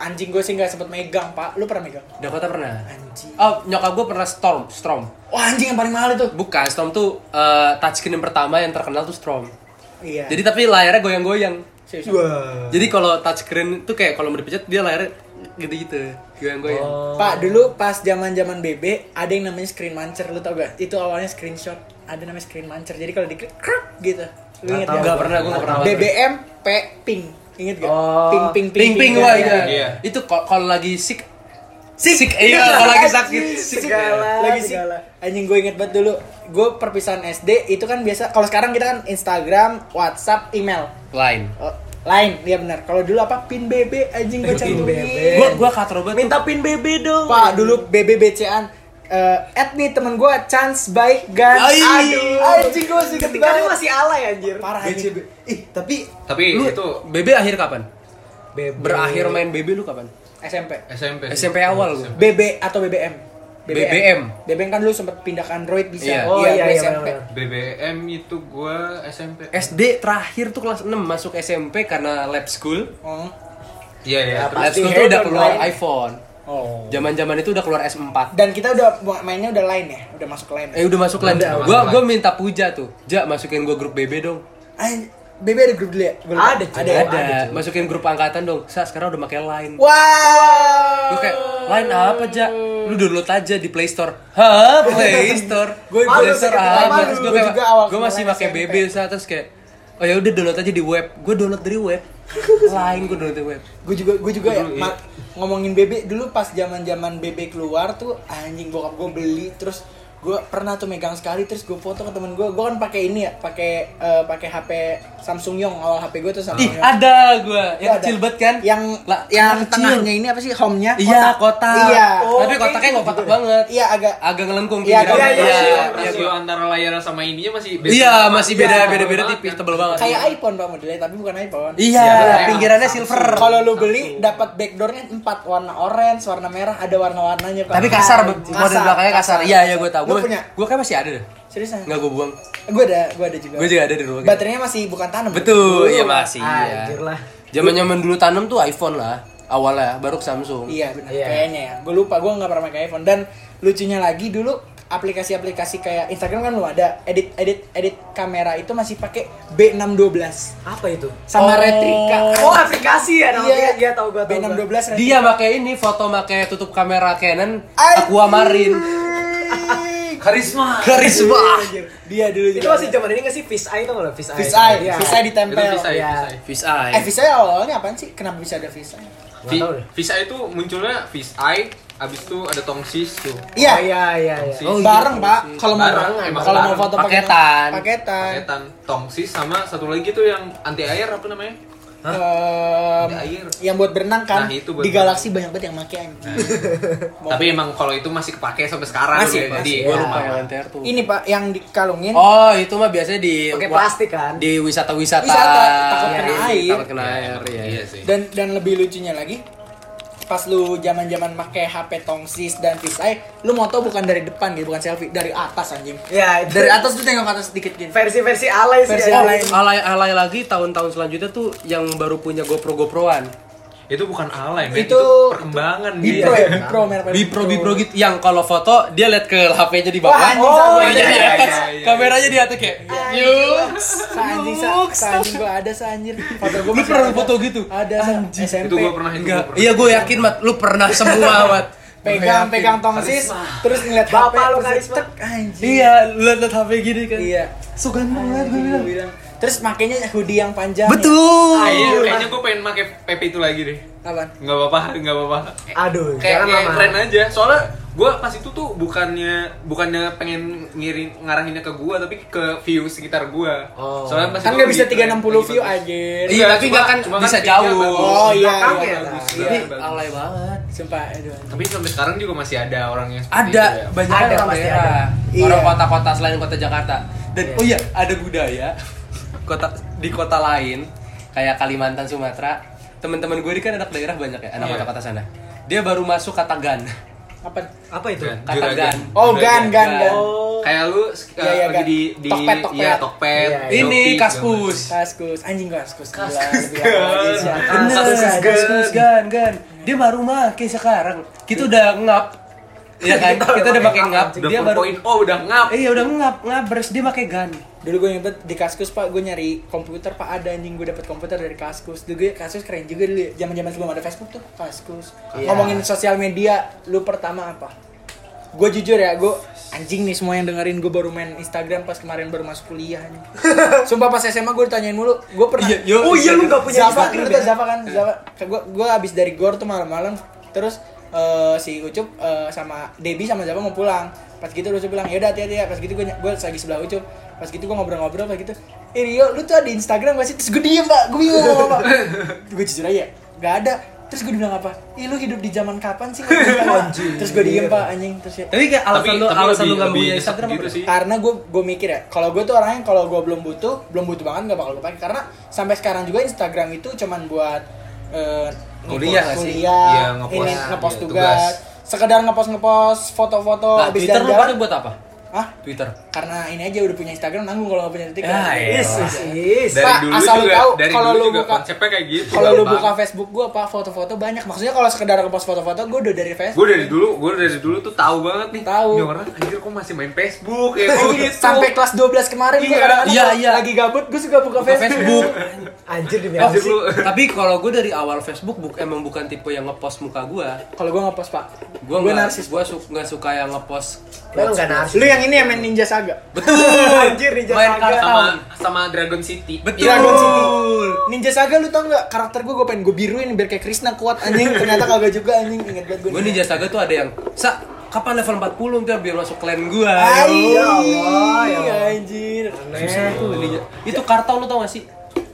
Speaker 2: Anjing gue sih nggak sempet megang pak. Lu pernah megang?
Speaker 1: Dakota pernah.
Speaker 2: Anjing.
Speaker 1: Oh, nyokap gue pernah Storm, Storm.
Speaker 2: Wah anjing yang paling mahal itu.
Speaker 1: Bukan, Storm tuh eh, touchscreen yang pertama yang terkenal tuh Storm.
Speaker 2: Iya.
Speaker 1: Jadi tapi layarnya goyang-goyang.
Speaker 2: Serius.
Speaker 4: Wah.
Speaker 1: Jadi kalau touchscreen tuh kayak kalau mau dipencet dia layarnya gitu-gitu, ya? goyang-goyang.
Speaker 2: Pak dulu pas zaman zaman BB ada yang namanya screen mancer lu tau gak? Itu awalnya screenshot. Ada namanya screen mancer. Jadi kalau diklik krap gitu. Lu inget gak?
Speaker 4: tahu,
Speaker 1: Enggak pernah gua enggak pernah.
Speaker 2: BBM P ping. Ingat gak?
Speaker 4: Oh.
Speaker 2: Ping ping
Speaker 1: ping ping gua
Speaker 2: Iya.
Speaker 1: iya.
Speaker 3: Iya.
Speaker 1: Itu ko- kalau lagi sick
Speaker 2: Sik.
Speaker 1: Sik, iya, kalau lagi sakit. Sik.
Speaker 4: segala
Speaker 2: lagi sih anjing gue inget banget dulu gue perpisahan SD itu kan biasa kalau sekarang kita kan Instagram WhatsApp email
Speaker 1: Lain.
Speaker 2: Oh, lain dia benar kalau dulu apa pin BB anjing gue cantumin
Speaker 4: BB.
Speaker 1: Gua gua katro banget.
Speaker 4: minta pin BB dong
Speaker 2: pak dulu BBBC-an eh add nih temen gue chance baik guys
Speaker 1: Ai.
Speaker 2: aduh anjing gue masih inget
Speaker 4: ketika dia
Speaker 2: banget
Speaker 4: masih alay anjir
Speaker 2: parah anjing
Speaker 1: BCB. Ih, tapi
Speaker 3: Tapi
Speaker 1: lu
Speaker 3: itu
Speaker 1: BB akhir kapan? Berakhir main BB lu kapan?
Speaker 2: SMP
Speaker 3: SMP. sih.
Speaker 1: SMP awal lu.
Speaker 2: BB atau BBM
Speaker 1: BBM.
Speaker 2: BBM kan dulu sempet pindah ke Android bisa
Speaker 1: Iya.
Speaker 4: Oh, iya,
Speaker 2: gue
Speaker 4: iya,
Speaker 2: SMP
Speaker 4: benar-benar.
Speaker 3: BBM itu gua SMP.
Speaker 1: SD terakhir tuh kelas 6 masuk SMP karena lab school.
Speaker 2: oh
Speaker 3: Iya iya. terus-
Speaker 1: Lab
Speaker 4: Pasti
Speaker 1: school tuh udah
Speaker 4: handphone
Speaker 1: keluar
Speaker 4: lain.
Speaker 1: iPhone.
Speaker 2: oh
Speaker 1: Zaman-zaman itu udah keluar S4.
Speaker 2: dan kita udah mainnya udah lain ya udah masuk ke lain
Speaker 1: Eh udah masuk lain.
Speaker 3: Udah,
Speaker 1: Gua
Speaker 3: masuk
Speaker 1: gua minta puja tuh. Ja masukin gua grup BB dong.
Speaker 2: Ay, BB ada grup dulu ya? Gua lupa.
Speaker 4: Ada, cuy.
Speaker 2: ada. ya?
Speaker 1: ada. Masukin grup angkatan dong. Sa sekarang udah pakai Line.
Speaker 2: Wow.
Speaker 1: Gue kayak Line apa aja? Lu download aja di Play Store. Hah, Play Store.
Speaker 2: Gue- gue
Speaker 1: Play
Speaker 2: juga
Speaker 1: Store
Speaker 2: ketika
Speaker 1: apa?
Speaker 2: baru,
Speaker 1: Terus gue
Speaker 2: gue
Speaker 1: kayak
Speaker 2: juga awal
Speaker 1: gue masih
Speaker 2: kenal
Speaker 1: pakai
Speaker 2: SMP.
Speaker 1: BB Sa. terus kayak Oh ya udah download aja di web. Gue download dari web. Line gue download dari web.
Speaker 2: Gue juga gue juga ya
Speaker 1: iya.
Speaker 2: Ma- ngomongin BB dulu pas zaman-zaman BB keluar tuh anjing bokap gue beli terus gue pernah tuh megang sekali terus gue foto ke temen gue gue kan pakai ini ya pakai eh, pakai HP Samsung Yong awal HP gue tuh
Speaker 1: Ih,
Speaker 2: Samsung Yong Iya,
Speaker 1: ada gue. Yang
Speaker 2: Nah, ya. Ada.
Speaker 1: kecil banget kan?
Speaker 2: yang
Speaker 1: La-
Speaker 2: yang
Speaker 1: kecil.
Speaker 2: tengahnya ini apa sih home-nya
Speaker 1: Iya, kotak.
Speaker 2: iya
Speaker 1: Oh, Tapi kotaknya nggak kotak banget.
Speaker 2: iya agak
Speaker 1: Agak ngelengkung
Speaker 2: Iya,
Speaker 1: pinggirannya.
Speaker 2: iya, iya,
Speaker 3: Rasio,
Speaker 2: iya,
Speaker 1: gua-
Speaker 3: rasio antara layar sama ininya masih beda.
Speaker 1: Iya, masih beda
Speaker 3: Iya,
Speaker 1: beda beda
Speaker 3: banget
Speaker 1: tipis,
Speaker 3: kan.
Speaker 1: tebel banget.
Speaker 2: kayak iPhone pak modelnya tapi bukan iPhone
Speaker 1: Oh, Iya,
Speaker 3: Iya.
Speaker 1: pinggirannya silver.
Speaker 2: Kalau lu beli dapat backdoornya empat warna orange, warna merah, ada warna-warnanya. Pak.
Speaker 1: Tapi kasar,
Speaker 2: Anjing.
Speaker 1: model belakangnya kasar. Iya, iya gue tau.
Speaker 2: Nah, Lu
Speaker 1: Gue
Speaker 2: punya?
Speaker 1: gue kayak masih ada deh.
Speaker 2: Serius
Speaker 1: Nggak gue buang.
Speaker 2: Gue ada, gue ada juga.
Speaker 1: Gue juga ada di rumah. kita.
Speaker 2: Baterainya masih bukan tanam.
Speaker 1: Betul,
Speaker 2: Dulu,
Speaker 1: iya
Speaker 2: Pak.
Speaker 1: masih. Iya.
Speaker 4: Anjir lah.
Speaker 1: Zaman zaman dulu tanam tuh iPhone lah awalnya, baru ke Samsung.
Speaker 2: Iya benar.
Speaker 4: Iya.
Speaker 2: Kayaknya ya. Gue lupa, gue nggak pernah pakai iPhone. Dan lucunya lagi dulu aplikasi-aplikasi kayak Instagram kan lu ada edit edit edit kamera itu masih pakai B612
Speaker 4: apa itu
Speaker 1: Oh.
Speaker 2: sama Retrika.
Speaker 4: oh aplikasi ya namanya iya tahu gua tahu gua.
Speaker 2: B612 Retrika.
Speaker 1: Dia pakai ini foto pakai tutup kamera Canon
Speaker 2: Anjing.
Speaker 1: Aquamarine.
Speaker 3: Karisma.
Speaker 1: Karisma.
Speaker 2: Dia dulu
Speaker 4: itu
Speaker 2: juga.
Speaker 4: masih zaman ini nggak sih fish eye tau nggak fish eye
Speaker 2: Fish eye,
Speaker 4: Iya.
Speaker 2: fish eye ditempel.
Speaker 3: Itu visa
Speaker 4: Iya.
Speaker 3: ya.
Speaker 1: Fish
Speaker 2: Eh,
Speaker 1: eye.
Speaker 2: visa awalnya apaan sih? Kenapa bisa ada visa?
Speaker 4: Nggak tahu deh.
Speaker 3: Visa itu munculnya fish eye, abis itu ada tongsis tuh.
Speaker 4: iya
Speaker 2: Iya,
Speaker 4: iya iya iya.
Speaker 1: Oh, iya.
Speaker 2: bareng pak. Kalau mau
Speaker 3: Bareng, emang
Speaker 2: kalau mau
Speaker 3: bareng.
Speaker 2: foto
Speaker 1: Paketan.
Speaker 2: paketan.
Speaker 3: Paketan tongsis sama satu lagi tuh yang anti air apa namanya?
Speaker 2: Ehm,
Speaker 3: Ada air.
Speaker 2: yang buat berenang kan
Speaker 3: Nah, itu
Speaker 2: di
Speaker 3: buat
Speaker 2: galaksi banyak banget yang make anjing.
Speaker 1: Nah.
Speaker 2: Mau-
Speaker 3: Tapi emang kalau itu masih kepake sampai sekarang
Speaker 2: Masih,
Speaker 3: ya, jadi
Speaker 2: masih.
Speaker 1: Gue
Speaker 4: Iya.
Speaker 1: lupa yang LNTR tuh.
Speaker 2: ini pak yang dikalungin
Speaker 1: Oh, itu mah biasanya di
Speaker 4: Pakai plastik kan?
Speaker 1: Di wisata-wisata.
Speaker 2: Wisata, takut
Speaker 1: Iya,
Speaker 2: kena
Speaker 1: iya,
Speaker 2: air.
Speaker 1: Takut kena air.
Speaker 3: emang
Speaker 1: Iya.
Speaker 3: iya sih.
Speaker 2: dan dan lebih lucunya lagi pas lu zaman zaman pakai HP tongsis dan fisheye lu moto bukan dari depan gitu bukan selfie dari atas anjing
Speaker 4: ya itu
Speaker 2: dari atas tuh tengok atas sedikit gitu. gini
Speaker 4: versi-versi alay sih
Speaker 2: Versi
Speaker 4: ya.
Speaker 2: alay.
Speaker 1: Oh, Alay alay lagi tahun-tahun selanjutnya tuh yang baru punya GoPro GoProan.
Speaker 3: Itu bukan alay, men.
Speaker 2: Itu-
Speaker 3: Itu,
Speaker 1: iya.
Speaker 3: perkembangan dia.
Speaker 2: bipro ya bipro merah
Speaker 1: Bipro Bipro gitu yang kalau foto dia lihat ke HP-nya di bawah.
Speaker 2: Wah, anjing,
Speaker 1: oh,
Speaker 2: sama.
Speaker 1: iya, iya,
Speaker 3: Iya,
Speaker 1: kan?
Speaker 3: iya, iya.
Speaker 1: Kameranya di atas kayak. Yuk.
Speaker 2: Seanjing sa, seanjing gua ada seanjir Foto gua
Speaker 1: Lu
Speaker 2: masih
Speaker 1: pernah
Speaker 2: ada.
Speaker 1: foto gitu?
Speaker 2: Ada Sa. SMP
Speaker 3: Itu gua pernah itu gua
Speaker 1: Enggak.
Speaker 3: pernah.
Speaker 1: Iya gue yakin mat, lu pernah semua mat.
Speaker 2: Pegang,
Speaker 1: Gua yakin.
Speaker 2: pegang tongsis Terus ngeliat
Speaker 4: Bapak
Speaker 2: HP,
Speaker 4: lu
Speaker 2: terus
Speaker 4: karisma.
Speaker 2: tek, Anjing
Speaker 1: Iya, lu liat HP gini kan.
Speaker 2: Iya
Speaker 1: So ganteng banget gue
Speaker 2: Gua
Speaker 1: bilang.
Speaker 2: bilang, Terus makainya hoodie yang panjang ya.
Speaker 1: Betul.
Speaker 3: Kayaknya, kayaknya gue pengen pakai PP itu lagi deh.
Speaker 2: Apaan?
Speaker 3: Nggak apa-apa, nggak apa-apa.
Speaker 4: aduh
Speaker 3: Kayak,
Speaker 4: jangan
Speaker 3: kayak
Speaker 4: lama
Speaker 3: keren aja. Soalnya gue pas itu tuh bukannya bukannya pengen ngirin ngarahinnya ke gue tapi ke view sekitar gue.
Speaker 4: Oh.
Speaker 3: Soalnya pas
Speaker 2: Kan
Speaker 3: itu
Speaker 2: nggak bisa
Speaker 3: lagi keren,
Speaker 2: 360 view
Speaker 3: lagi
Speaker 2: aja
Speaker 3: bagus.
Speaker 1: Iya, tapi nggak kan bisa
Speaker 3: view-nya
Speaker 1: jauh.
Speaker 3: bagus.
Speaker 2: Oh iya iya,
Speaker 4: Belakang ya,
Speaker 2: iya.
Speaker 4: lah.
Speaker 1: Jadi
Speaker 3: Iya, bagus.
Speaker 1: alay banget.
Speaker 2: Sumpah aduh
Speaker 3: Tapi sampai sekarang juga masih ada orang yang seperti
Speaker 1: Ada
Speaker 3: itu ya.
Speaker 1: banyak
Speaker 4: Ada,
Speaker 1: orang
Speaker 4: pasti
Speaker 1: daerah,
Speaker 2: ada.
Speaker 1: orang
Speaker 2: Iya.
Speaker 1: kota-kota selain kota Jakarta. Dan oh iya, ada budaya kota di kota lain kayak Kalimantan, Sumatera. Teman-teman gue ini kan anak daerah banyak ya, anak
Speaker 3: Iya.
Speaker 1: kota-kota sana. Dia baru masuk kata gan.
Speaker 2: Apa?
Speaker 4: apa itu Iya.
Speaker 3: Gan,
Speaker 1: Kata
Speaker 3: juragan.
Speaker 1: gan.
Speaker 2: Oh gan
Speaker 3: Juragan.
Speaker 2: gan gan
Speaker 4: oh
Speaker 3: Kayak lu uh,
Speaker 2: Iya, iya,
Speaker 3: lagi
Speaker 2: Gan.
Speaker 3: di di
Speaker 2: Tokped, Tokped.
Speaker 3: iya, Tokped,
Speaker 4: Iya,
Speaker 1: Ini
Speaker 3: Shopee,
Speaker 1: kaskus.
Speaker 2: Kaskus, anjing kaskus Gila, lebih
Speaker 4: Iya,
Speaker 2: apa lagi
Speaker 3: segala
Speaker 2: sih, ya?
Speaker 3: macam.
Speaker 4: Ah,
Speaker 3: Gan.
Speaker 1: Bener,
Speaker 3: Kaskus,
Speaker 1: kaskus,
Speaker 3: gan.
Speaker 1: gan, gan. Dia baru make sekarang. Kita udah ngap. Iya kan? Kita udah pakai ngap.
Speaker 3: Udah
Speaker 1: Dia baru
Speaker 3: oh udah ngap.
Speaker 1: Eh, Iya udah ngap, ngabers dia pakai gan.
Speaker 2: Dulu gue inget di Kaskus pak, gue nyari komputer pak ada anjing gue dapet komputer dari Kaskus. Dulu gue Kaskus keren juga dulu, ya. zaman-zaman sebelum ada Facebook tuh Kaskus.
Speaker 4: Iya.
Speaker 2: Ngomongin sosial media, lu pertama apa? Gue jujur ya, gue anjing nih semua yang dengerin gue baru main Instagram pas kemarin baru masuk kuliah anjing. Sumpah pas SMA gue ditanyain mulu, gue pernah.
Speaker 1: Iya, yo,
Speaker 4: oh iya lu nggak punya
Speaker 2: Zava,
Speaker 4: Instagram
Speaker 2: lu
Speaker 4: ya?
Speaker 2: tau Zava kan? Zava, gue gue abis dari gor tuh malam-malam, terus eh, si Ucup eh, sama Debbie sama siapa mau pulang pas gitu Ucup bilang yaudah hati-hati ya pas gitu gue gue lagi sebelah Ucup pas gitu gue ngobrol-ngobrol pas gitu eh Rio lu tuh ada Instagram gak sih terus gue diem pak gue bingung mau ngomong apa gue jujur aja gak ada terus gue bilang apa ih lu hidup di zaman kapan sih terus gue diem pak anjing terus ya
Speaker 1: Tapi kayak alasan
Speaker 3: Tapi-
Speaker 1: lu
Speaker 3: tapi
Speaker 1: alasan lu gak
Speaker 3: lebih- lebih
Speaker 1: punya
Speaker 3: nyesek
Speaker 1: Instagram
Speaker 3: gitu
Speaker 1: apa?
Speaker 3: sih.
Speaker 2: karena gue gue mikir ya kalau gue tuh orangnya kalau gue belum butuh belum butuh banget nggak bakal gue pakai karena sampai sekarang juga Instagram itu cuman buat eh,
Speaker 1: Kuliah nggak
Speaker 2: ngepost
Speaker 1: sih? ya,
Speaker 2: kuliah
Speaker 3: Iya, ngepost,
Speaker 2: ini
Speaker 3: iya,
Speaker 2: ngepost tugas.
Speaker 3: tugas.
Speaker 2: sekedar ngepost ngepost foto-foto
Speaker 1: Nah,
Speaker 2: habis
Speaker 1: Twitter lu pakai
Speaker 2: jalan-jalan
Speaker 1: buat apa?
Speaker 2: Hah?
Speaker 1: Twitter.
Speaker 2: karena ini aja udah punya Instagram nanggung kalau nggak punya detik
Speaker 1: Ya, iya.
Speaker 4: Is, is, is.
Speaker 2: Eh,
Speaker 3: dari
Speaker 2: Pak,
Speaker 3: dulu
Speaker 2: asal lu
Speaker 3: juga
Speaker 2: tahu,
Speaker 3: dari
Speaker 2: kalau
Speaker 3: dulu
Speaker 2: lu
Speaker 3: juga
Speaker 2: buka-
Speaker 3: konsepnya kayak gitu
Speaker 2: kalau lu
Speaker 1: Iya,
Speaker 3: Bang.
Speaker 2: buka Facebook gue apa foto-foto banyak maksudnya kalau sekedar ngepost foto-foto gue udah dari Facebook
Speaker 3: gue dari dulu gue dari dulu tuh tahu banget nih
Speaker 2: Tahu.
Speaker 3: ini orang anjir kok masih main Facebook ya kok gitu
Speaker 2: sampai kelas 12 kemarin gue
Speaker 3: Iya,
Speaker 2: kadang-kadang
Speaker 1: Oh, iya,
Speaker 2: kalau
Speaker 1: iya.
Speaker 2: lagi gabut gue suka buka,
Speaker 1: Buka Facebook.
Speaker 4: Anjir demi apa
Speaker 3: anjir
Speaker 4: sih?
Speaker 3: lu
Speaker 1: Tapi kalau gue dari awal Facebook buk, emang bukan tipe yang ngepost muka gue.
Speaker 2: kalau gue ngepost pak
Speaker 1: Gue
Speaker 2: Gua
Speaker 1: nggak
Speaker 2: narsis
Speaker 1: gue su- nggak suka yang ngepost.
Speaker 4: Lu enggak narsis.
Speaker 2: lu yang ini yang main Ninja Saga
Speaker 4: Anjir di
Speaker 1: Main
Speaker 4: Jakarta.
Speaker 1: kartu.
Speaker 3: sama sama Dragon City Iya,
Speaker 1: Betul.
Speaker 2: Dragon City. Ninja Saga lu tau gak karakter gue gue pengen gue biruin biar kayak Krishna kuat anjing ternyata kagak juga anjing inget banget gue
Speaker 1: Gue nih jasa tuh ada yang sa kapan level 40 ntar biar masuk clan gue.
Speaker 4: Ya Allah, ya Allah.
Speaker 2: anjir
Speaker 1: Itu kartu lu tau gak sih?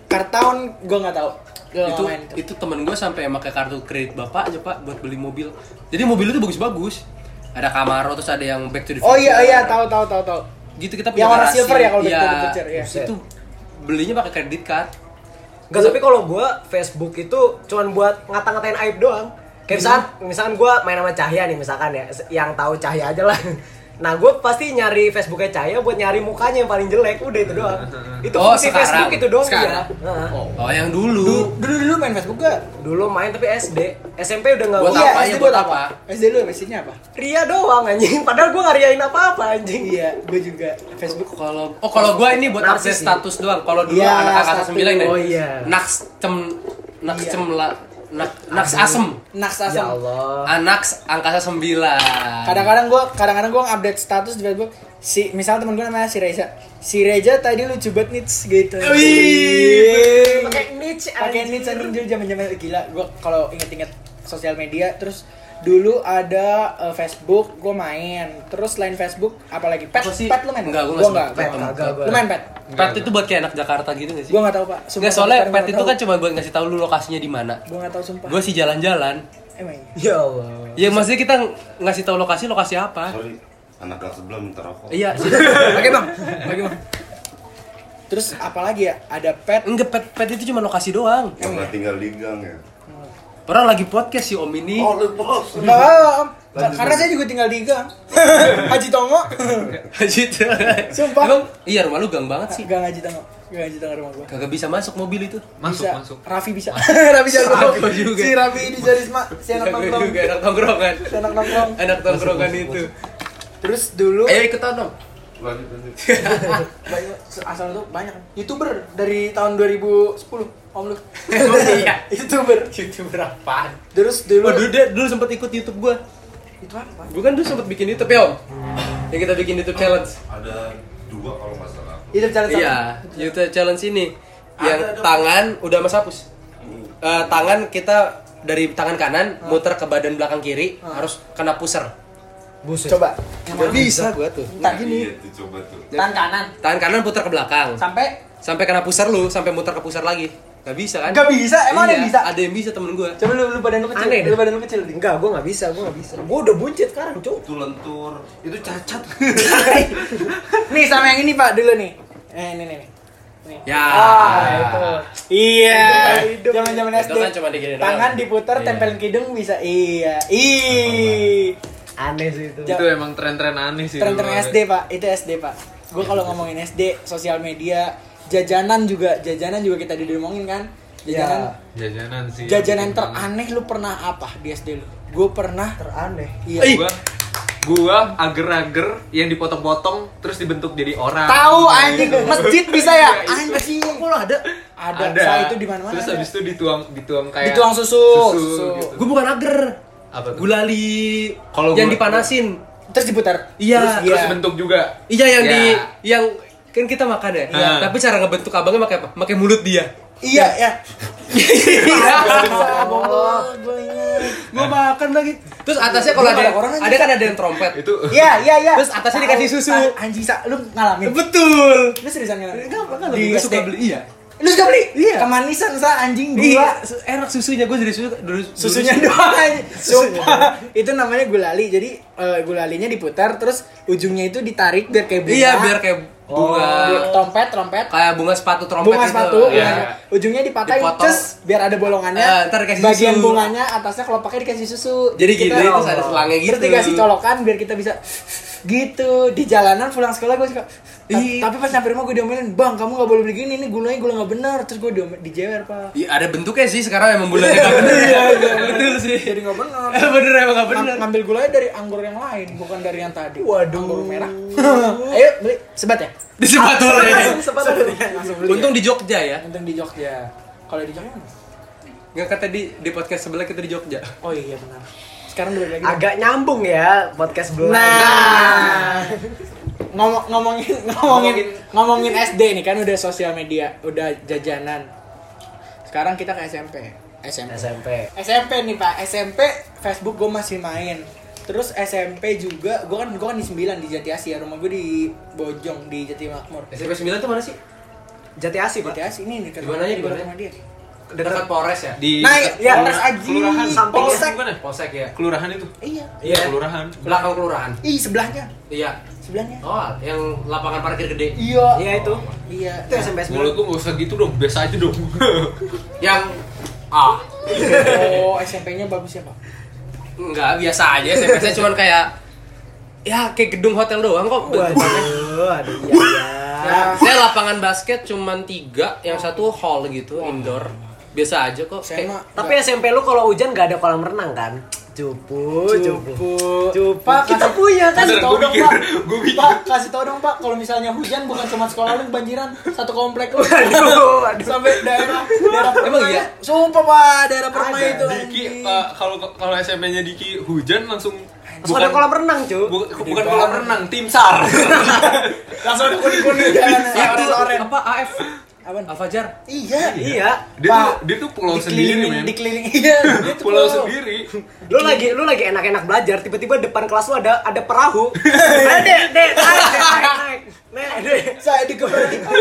Speaker 2: Kartaun gue gak tau
Speaker 1: itu itu temen gue sampai pakai kartu kredit bapak aja pak buat beli mobil jadi mobil itu bagus-bagus ada Camaro terus ada yang Back to the Future
Speaker 2: oh iya iya tau tau tau tau
Speaker 1: gitu kita punya
Speaker 2: Yang warna
Speaker 1: garasi.
Speaker 2: silver ya kalau Back
Speaker 1: Iya,
Speaker 2: to the Future, iya.
Speaker 1: terus itu belinya pakai kredit card
Speaker 4: Enggak, tapi kalau gua Facebook itu cuman buat ngata-ngatain aib doang. Kayak misalkan,
Speaker 2: Iya.
Speaker 4: misalkan gua main sama Cahya nih misalkan ya, se- yang tahu Cahya aja lah. Nah, gua pasti nyari Facebooknya Cahya buat nyari mukanya yang paling jelek, udah itu doang. Itu
Speaker 1: Oh,
Speaker 4: fungsi
Speaker 1: sekarang.
Speaker 4: Facebook itu doang
Speaker 1: Sekarang.
Speaker 4: iya. Heeh.
Speaker 1: oh yang dulu
Speaker 2: dulu dulu, dulu main Facebook gak
Speaker 4: Dulu main tapi SD, SMP udah nggak
Speaker 1: Buat
Speaker 4: gua-
Speaker 1: apa
Speaker 4: Iya,
Speaker 1: ya,
Speaker 4: SD
Speaker 1: buat
Speaker 4: udah-
Speaker 1: apa?
Speaker 2: SD lu message-nya apa
Speaker 4: Ria doang anjing, padahal gua nggak riain apa-apa anjing.
Speaker 2: iya gue juga Facebook
Speaker 1: kalau oh kalau gue ini buat update
Speaker 4: Narsis sih.
Speaker 1: status doang kalau dulu
Speaker 2: Iya,
Speaker 1: anak angkasa
Speaker 2: status.
Speaker 1: sembilan deh
Speaker 4: Oh, iya.
Speaker 1: naks cem naks
Speaker 2: Iya.
Speaker 1: cem la, nak, naks asem
Speaker 2: Naks
Speaker 4: Ya
Speaker 2: asam
Speaker 4: Allah.
Speaker 1: anaks angkasa sembilan
Speaker 2: kadang-kadang gue kadang-kadang gue update status di Facebook si misal temen gue namanya si Reza si Reza tadi lucu banget nits gitu Iya.
Speaker 1: Wih.
Speaker 4: Pakai niche
Speaker 2: pakai
Speaker 4: anjing.
Speaker 2: nits anjing dulu zaman zaman gila gue kalau inget-inget sosial media terus dulu ada eh, Facebook gue main terus lain Facebook apalagi pet
Speaker 1: Apa sih?
Speaker 2: pet lu main
Speaker 1: Enggak, gua
Speaker 2: gue
Speaker 1: nggak
Speaker 2: nggak
Speaker 1: suka pet,
Speaker 2: gua nggak.
Speaker 4: kagak gua.
Speaker 2: lu main pet
Speaker 1: pet itu buat kayak anak Jakarta gitu gak sih
Speaker 2: gue nggak tahu pak
Speaker 1: Nggak, soalnya pet itu kan cuma buat ngasih tahu lu lokasinya di mana
Speaker 2: gue nggak tahu sumpah
Speaker 1: gue sih jalan-jalan
Speaker 2: emang iya.
Speaker 4: Ya Allah.
Speaker 1: ya maksudnya kita ng- ngasih tahu lokasi lokasi apa
Speaker 5: Sorry, anak kelas sebelah minta
Speaker 1: Ah.
Speaker 5: rokok.
Speaker 1: iya sih.
Speaker 2: oke bang oke bang terus apalagi ya ada pet
Speaker 1: enggak pet pet itu cuma lokasi doang
Speaker 5: Yang pernah tinggal di gang ya.
Speaker 1: pernah lagi podcast si om ini
Speaker 5: Oh, lu bos.
Speaker 2: Enggak, enggak, enggak, Om. Karena saya juga tinggal di gang. Haji Tongo.
Speaker 1: gitu
Speaker 2: Sumpah.
Speaker 1: Emang, iya rumah lu gang banget sih
Speaker 2: Gang Haji Tongo. Gang Haji Tongo rumah gua.
Speaker 1: kagak bisa masuk mobil itu
Speaker 3: masuk
Speaker 2: Bisa.
Speaker 3: masuk
Speaker 2: Raffi bisa. Raffi jago.
Speaker 1: Raffi juga.
Speaker 2: Si Raffi ini Jarisma, si anak
Speaker 1: Kagak
Speaker 2: nongkrong.
Speaker 1: juga anak tongkrongan
Speaker 2: Si anak nongkrong.
Speaker 1: anak tongkrongan itu
Speaker 2: Terus dulu
Speaker 1: ayo ikutan dong
Speaker 5: Lanjut, lanjut.
Speaker 2: banyak- asal itu banyak kan. YouTuber dari tahun 2010. Om lu.
Speaker 1: iya
Speaker 2: YouTuber.
Speaker 1: youtuber apaan
Speaker 2: Terus dulu
Speaker 1: oh dulu dia dulu sempet ikut youtube gua
Speaker 2: itu apa?
Speaker 1: gua kan dulu sempet bikin youtube ya om yang kita bikin youtube challenge
Speaker 5: Ada dua kalau nggak salah.
Speaker 2: Itu challenge apa?
Speaker 1: Iya, YouTube challenge ini yang tangan udah mas hapus.
Speaker 2: Hmm.
Speaker 1: Eh, tangan kita dari tangan kanan muter ke badan belakang kiri
Speaker 2: Ah.
Speaker 1: harus kena pusar.
Speaker 4: Buset.
Speaker 2: Coba.
Speaker 1: Gak bisa gua tuh.
Speaker 2: Entar
Speaker 5: Iya,
Speaker 2: gini.
Speaker 5: tuh coba tuh.
Speaker 2: Tangan kanan
Speaker 1: Tangan kanan putar ke belakang
Speaker 2: sampai
Speaker 1: sampai kena pusar lu sampai muter ke pusar lagi. Gak bisa kan?
Speaker 2: Gak bisa, emang ada yang
Speaker 1: Iya,
Speaker 2: bisa?
Speaker 1: Ada yang bisa temen gua.
Speaker 2: Coba lu lu badan lu kecil.
Speaker 4: Aneh deh.
Speaker 2: Lu badan lu kecil. Di.
Speaker 4: Enggak, gua nggak bisa, gua nggak bisa. Gua udah buncit sekarang, Cuk.
Speaker 5: Itu lentur. Itu cacat.
Speaker 2: nih sama yang ini pak dulu nih eh ini nih nih. Nih. Ah,
Speaker 1: Ya.
Speaker 2: Iya.
Speaker 4: Itu kan
Speaker 2: Zaman zaman
Speaker 1: hidung.
Speaker 2: SD.
Speaker 1: Itu kan cuma digini doang.
Speaker 2: Tangan diputar,
Speaker 1: Iya.
Speaker 2: tempelin hidung bisa. Iya. Ih.
Speaker 4: Aneh sih itu.
Speaker 2: Ja-
Speaker 3: itu emang tren-tren aneh sih
Speaker 2: Tren-tren
Speaker 3: dulu.
Speaker 2: SD pak. Itu SD pak. Gue kalau ngomongin SD, sosial media, jajanan juga, jajanan juga kita didomongin kan. Jajanan.
Speaker 4: Iya.
Speaker 3: jajanan sih
Speaker 2: Jajanan teraneh lu pernah apa di SD lu? Gue pernah.
Speaker 4: Teraneh.
Speaker 1: Ih.
Speaker 2: Iya.
Speaker 3: gua gua ager-ager yang dipotong-potong terus dibentuk jadi orang
Speaker 2: Tahu anjing masjid bisa
Speaker 3: Iya,
Speaker 2: ya? Anjing.
Speaker 4: Kok lo ada?
Speaker 2: Ada. Saya itu di mana-mana.
Speaker 3: terus
Speaker 2: ada.
Speaker 3: habis itu dituang dituang kayak
Speaker 2: Dituang susu.
Speaker 3: susu,
Speaker 2: Susu.
Speaker 3: gitu.
Speaker 1: Gua bukan ager.
Speaker 3: Apa tuh?
Speaker 1: Gulali
Speaker 3: Kalau
Speaker 1: yang
Speaker 3: gua-
Speaker 1: dipanasin.
Speaker 2: Terus diputar.
Speaker 1: Iya.
Speaker 2: Terus-
Speaker 3: terus
Speaker 2: Iya.
Speaker 3: bentuk juga
Speaker 1: Iya yang
Speaker 3: Ya.
Speaker 1: di yang kan kita makan ya.
Speaker 3: Iya.
Speaker 1: Tapi cara ngebentuk abangnya pakai apa? Pakai mulut dia.
Speaker 2: Iya, ya.
Speaker 1: Iya.
Speaker 2: Ah, bohong, gue ingat.
Speaker 1: Gua makan lagi. Terus atasnya kalau
Speaker 2: Gua
Speaker 1: ada
Speaker 2: ada orang aja.
Speaker 1: ada kan ada yang trompet.
Speaker 3: itu
Speaker 4: Iya, iya, iya.
Speaker 1: Terus atasnya dikasih susu.
Speaker 2: An- Anjing, Sa, lu ngalamin.
Speaker 1: Betul.
Speaker 2: Lu seriusan ngalamin?
Speaker 1: Enggak, enggak
Speaker 2: Di
Speaker 1: lebih
Speaker 2: SD.
Speaker 1: suka beli iya.
Speaker 2: Lu suka beli?
Speaker 1: Iya.
Speaker 2: Kemanisan, Sa, anjing
Speaker 1: Iya,
Speaker 2: gula.
Speaker 1: su- enak susunya gue jadi susu Iya, dulu
Speaker 2: Susunya
Speaker 1: dulu-
Speaker 2: doang anjing. Sumpah. Itu namanya gulali. Jadi eh, gulalinya diputar terus ujungnya itu ditarik biar kayak bunga. Oh.
Speaker 1: Iya, biar kayak bunga
Speaker 2: trompet, trompet.
Speaker 1: kayak bunga sepatu trompet
Speaker 2: iya. bunga
Speaker 1: itu.
Speaker 2: sepatu
Speaker 1: Iya.
Speaker 2: iya. ujungnya dipatahin
Speaker 1: Dipotong.
Speaker 2: cus biar ada bolongannya
Speaker 1: Eh, ntar dikasih
Speaker 2: bagian
Speaker 1: susu.
Speaker 2: bunganya atasnya kelopaknya dikasih susu
Speaker 1: Jadi gitu,
Speaker 2: itu
Speaker 1: terus ada selangnya gitu.
Speaker 2: terus dikasih colokan biar kita bisa gitu di jalanan pulang sekolah gue suka "Ta-
Speaker 1: Ih.
Speaker 2: tapi pas nyampe rumah gue diomelin bang kamu nggak boleh beli gini ini gulanya gula nggak benar terus gue diomel dijewer pak
Speaker 1: Iya, ada bentuknya sih sekarang emang bulan
Speaker 2: Iya,
Speaker 1: nggak bener ya. Betul sih.
Speaker 2: jadi nggak benar
Speaker 1: Eh, bener emang nggak bener.
Speaker 2: Ng- ngambil gulanya dari anggur yang lain bukan dari yang tadi
Speaker 4: Waduh.
Speaker 2: anggur merah ayo beli sebat ya
Speaker 1: Di sepatu ya.
Speaker 2: langsung beli
Speaker 1: Untung di Jogja ya.
Speaker 2: untung di Jogja kalau di Jogja mana?
Speaker 1: Nggak kata di di podcast sebelah kita di Jogja.
Speaker 2: Oh iya benar. Sekarang balik lagi.
Speaker 4: Agak nyambung ya podcast belum.
Speaker 2: Nah. Ngomong ngomongin ngomongin
Speaker 3: Ngomongin.
Speaker 2: ngomongin SD nih kan udah sosial media, udah jajanan. Sekarang kita ke SMP. SMP.
Speaker 4: SMP.
Speaker 2: SMP nih Pak. SMP Facebook gue masih main. Terus SMP juga, gue kan gue kan di 9 di Jati Asi ya. Rumah gue di Bojong di Jati Makmur.
Speaker 1: SMP 9 tuh mana sih?
Speaker 4: Jati Asih, Pak.
Speaker 2: Jati Asi ini dekat
Speaker 1: Di mananya,
Speaker 2: di
Speaker 1: di mananya?
Speaker 2: rumah dia.
Speaker 1: Dekat Polres ya?
Speaker 3: di
Speaker 2: Nah,
Speaker 3: dekat
Speaker 4: Iya.
Speaker 2: ya,
Speaker 3: kelurahan-
Speaker 2: Res Aji.
Speaker 3: kelurahan
Speaker 2: Samping
Speaker 3: Polsek
Speaker 2: Polsek.
Speaker 3: bukan ya?
Speaker 1: Polsek ya.
Speaker 3: kelurahan itu
Speaker 2: Iya.
Speaker 3: iya kelurahan
Speaker 1: Belakang kelurahan.
Speaker 2: Ih, sebelahnya.
Speaker 1: Iya.
Speaker 2: Sebelahnya.
Speaker 1: Oh, yang lapangan parkir gede.
Speaker 2: Iya.
Speaker 4: Iya itu.
Speaker 2: Iya.
Speaker 4: Itu SMP
Speaker 3: mulut
Speaker 4: 9.
Speaker 3: lu nggak usah gitu dong biasa aja dong
Speaker 1: Yang ah,
Speaker 2: Oh, SMP-nya bagus ya, Pak.
Speaker 1: enggak biasa aja. SMP saya cuman kayak ya kayak gedung hotel doang kok.
Speaker 4: Waduh, aduh iya. iya.
Speaker 2: Nah,
Speaker 1: Saya lapangan basket cuman tiga, yang satu hall gitu, indoor. Biasa aja kok.
Speaker 2: Saya mah
Speaker 4: Eh, Tapi SMP lu kalau hujan gak ada kolam renang kan? Cupu, cupu.
Speaker 2: cupu
Speaker 4: Cupu.
Speaker 2: Pak, kita
Speaker 4: Kita
Speaker 2: punya kasih
Speaker 3: Bener,
Speaker 2: tau
Speaker 3: gua
Speaker 2: dong
Speaker 3: mikir,
Speaker 2: pak
Speaker 3: gua mikir.
Speaker 2: pak kasih tau dong pak kalau misalnya hujan bukan cuma sekolah lu kebanjiran satu komplek lu
Speaker 4: Aduh, aduh.
Speaker 2: sampai daerah daerah
Speaker 1: Emang
Speaker 2: permai.
Speaker 1: iya?
Speaker 2: sumpah pak daerah permai
Speaker 4: Ada,
Speaker 2: itu
Speaker 3: Diki
Speaker 2: anjing.
Speaker 3: eh, kalau kalau SMP-nya Diki hujan langsung
Speaker 4: Terus ada kolam renang, cu.
Speaker 3: bu- bukan kolam renang tim sar
Speaker 2: langsung ada kuning kuning jalan
Speaker 1: Kayak itu
Speaker 2: oren
Speaker 1: apa AF?
Speaker 2: Apaan?
Speaker 1: Al Fajar.
Speaker 2: iya
Speaker 4: Iya.
Speaker 3: dia
Speaker 2: Pak,
Speaker 3: tuh dia tuh pulau sendiri
Speaker 2: dikelilingi
Speaker 3: men
Speaker 2: dikelilingi iya dia tuh
Speaker 3: pulau
Speaker 2: pulau.
Speaker 3: sendiri
Speaker 4: Lu lagi lu lagi enak-enak belajar, tiba-tiba depan kelas lu ada ada perahu. Ayo, Dek, Dek, naik, Dek, naik, naik. Nek, Dek.
Speaker 2: saya dikeberanikan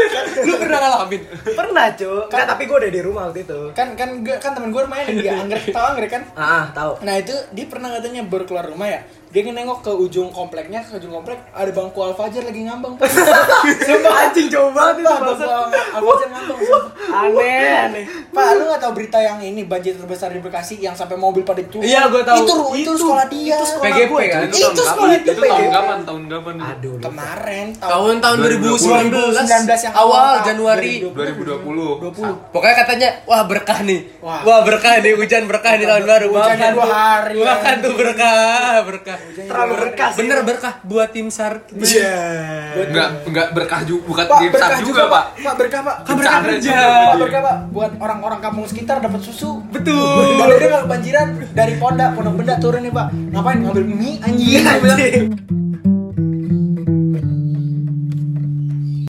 Speaker 1: Lu pernah ngalamin?
Speaker 4: Pernah, cu. Enggak, tapi gua udah di rumah waktu itu.
Speaker 2: kan kan gua- kan temen gue main dia anggrek tau anggrek kan
Speaker 4: Ah, tahu.
Speaker 2: Nah itu dia pernah katanya baru keluar rumah ya Dia nengok ke ujung kompleknya, ke ujung komplek Ada bangku Al-Fajar lagi ngambang Sumpah
Speaker 4: Anjing jauh banget itu,
Speaker 2: Sumpah, bangku Al- Al-Fajar ngambang sumpah. Eh,
Speaker 4: Aneh, aneh.
Speaker 2: Pak, lu gak tau berita yang ini banjir terbesar di Bekasi yang sampai mobil pada itu?
Speaker 1: Iya, gua tahu.
Speaker 2: Itu, ru- itu, sekolah dia.
Speaker 4: itu sekolah
Speaker 1: PGP
Speaker 4: gua,
Speaker 1: kan?
Speaker 4: cu.
Speaker 2: Itu
Speaker 3: itu tahun kapan
Speaker 2: sekolah
Speaker 3: itu
Speaker 2: PGP.
Speaker 3: tahun kapan tahun kapan itu?
Speaker 4: Aduh, lupa.
Speaker 2: Kemarin
Speaker 1: Tahun-tahun 2019
Speaker 2: 2019 yang
Speaker 1: awal
Speaker 2: tahun.
Speaker 1: Januari.
Speaker 3: 2020
Speaker 2: 2020.
Speaker 1: Pokoknya katanya, wah berkah nih.
Speaker 2: Wah.
Speaker 1: Wah, berkah nih hujan berkah nih tahun baru.
Speaker 2: Hujan
Speaker 1: Makan
Speaker 2: dua
Speaker 1: tuh-
Speaker 2: hari.
Speaker 1: Makan tuh berkah, berkah.
Speaker 4: Terlalu ya. berkah sih.
Speaker 1: Bener berkah buat tim SAR.
Speaker 2: Iya.
Speaker 3: Enggak, enggak berkah juga, bukan
Speaker 2: Pak,
Speaker 3: tim SAR
Speaker 2: berkah juga, Pak. Pak, berkah, Pak.
Speaker 1: Kan
Speaker 3: berkah
Speaker 1: mereka kerja.
Speaker 3: juga.
Speaker 2: Pak, berkah, Pak. Buat orang-orang kampung sekitar dapat susu.
Speaker 1: Betul.
Speaker 4: Iya,
Speaker 2: Kalau dia nggak kebanjiran dari Ponda, Pondok Benda turun nih pak. Ngapain ngambil mie anjing? Anjing.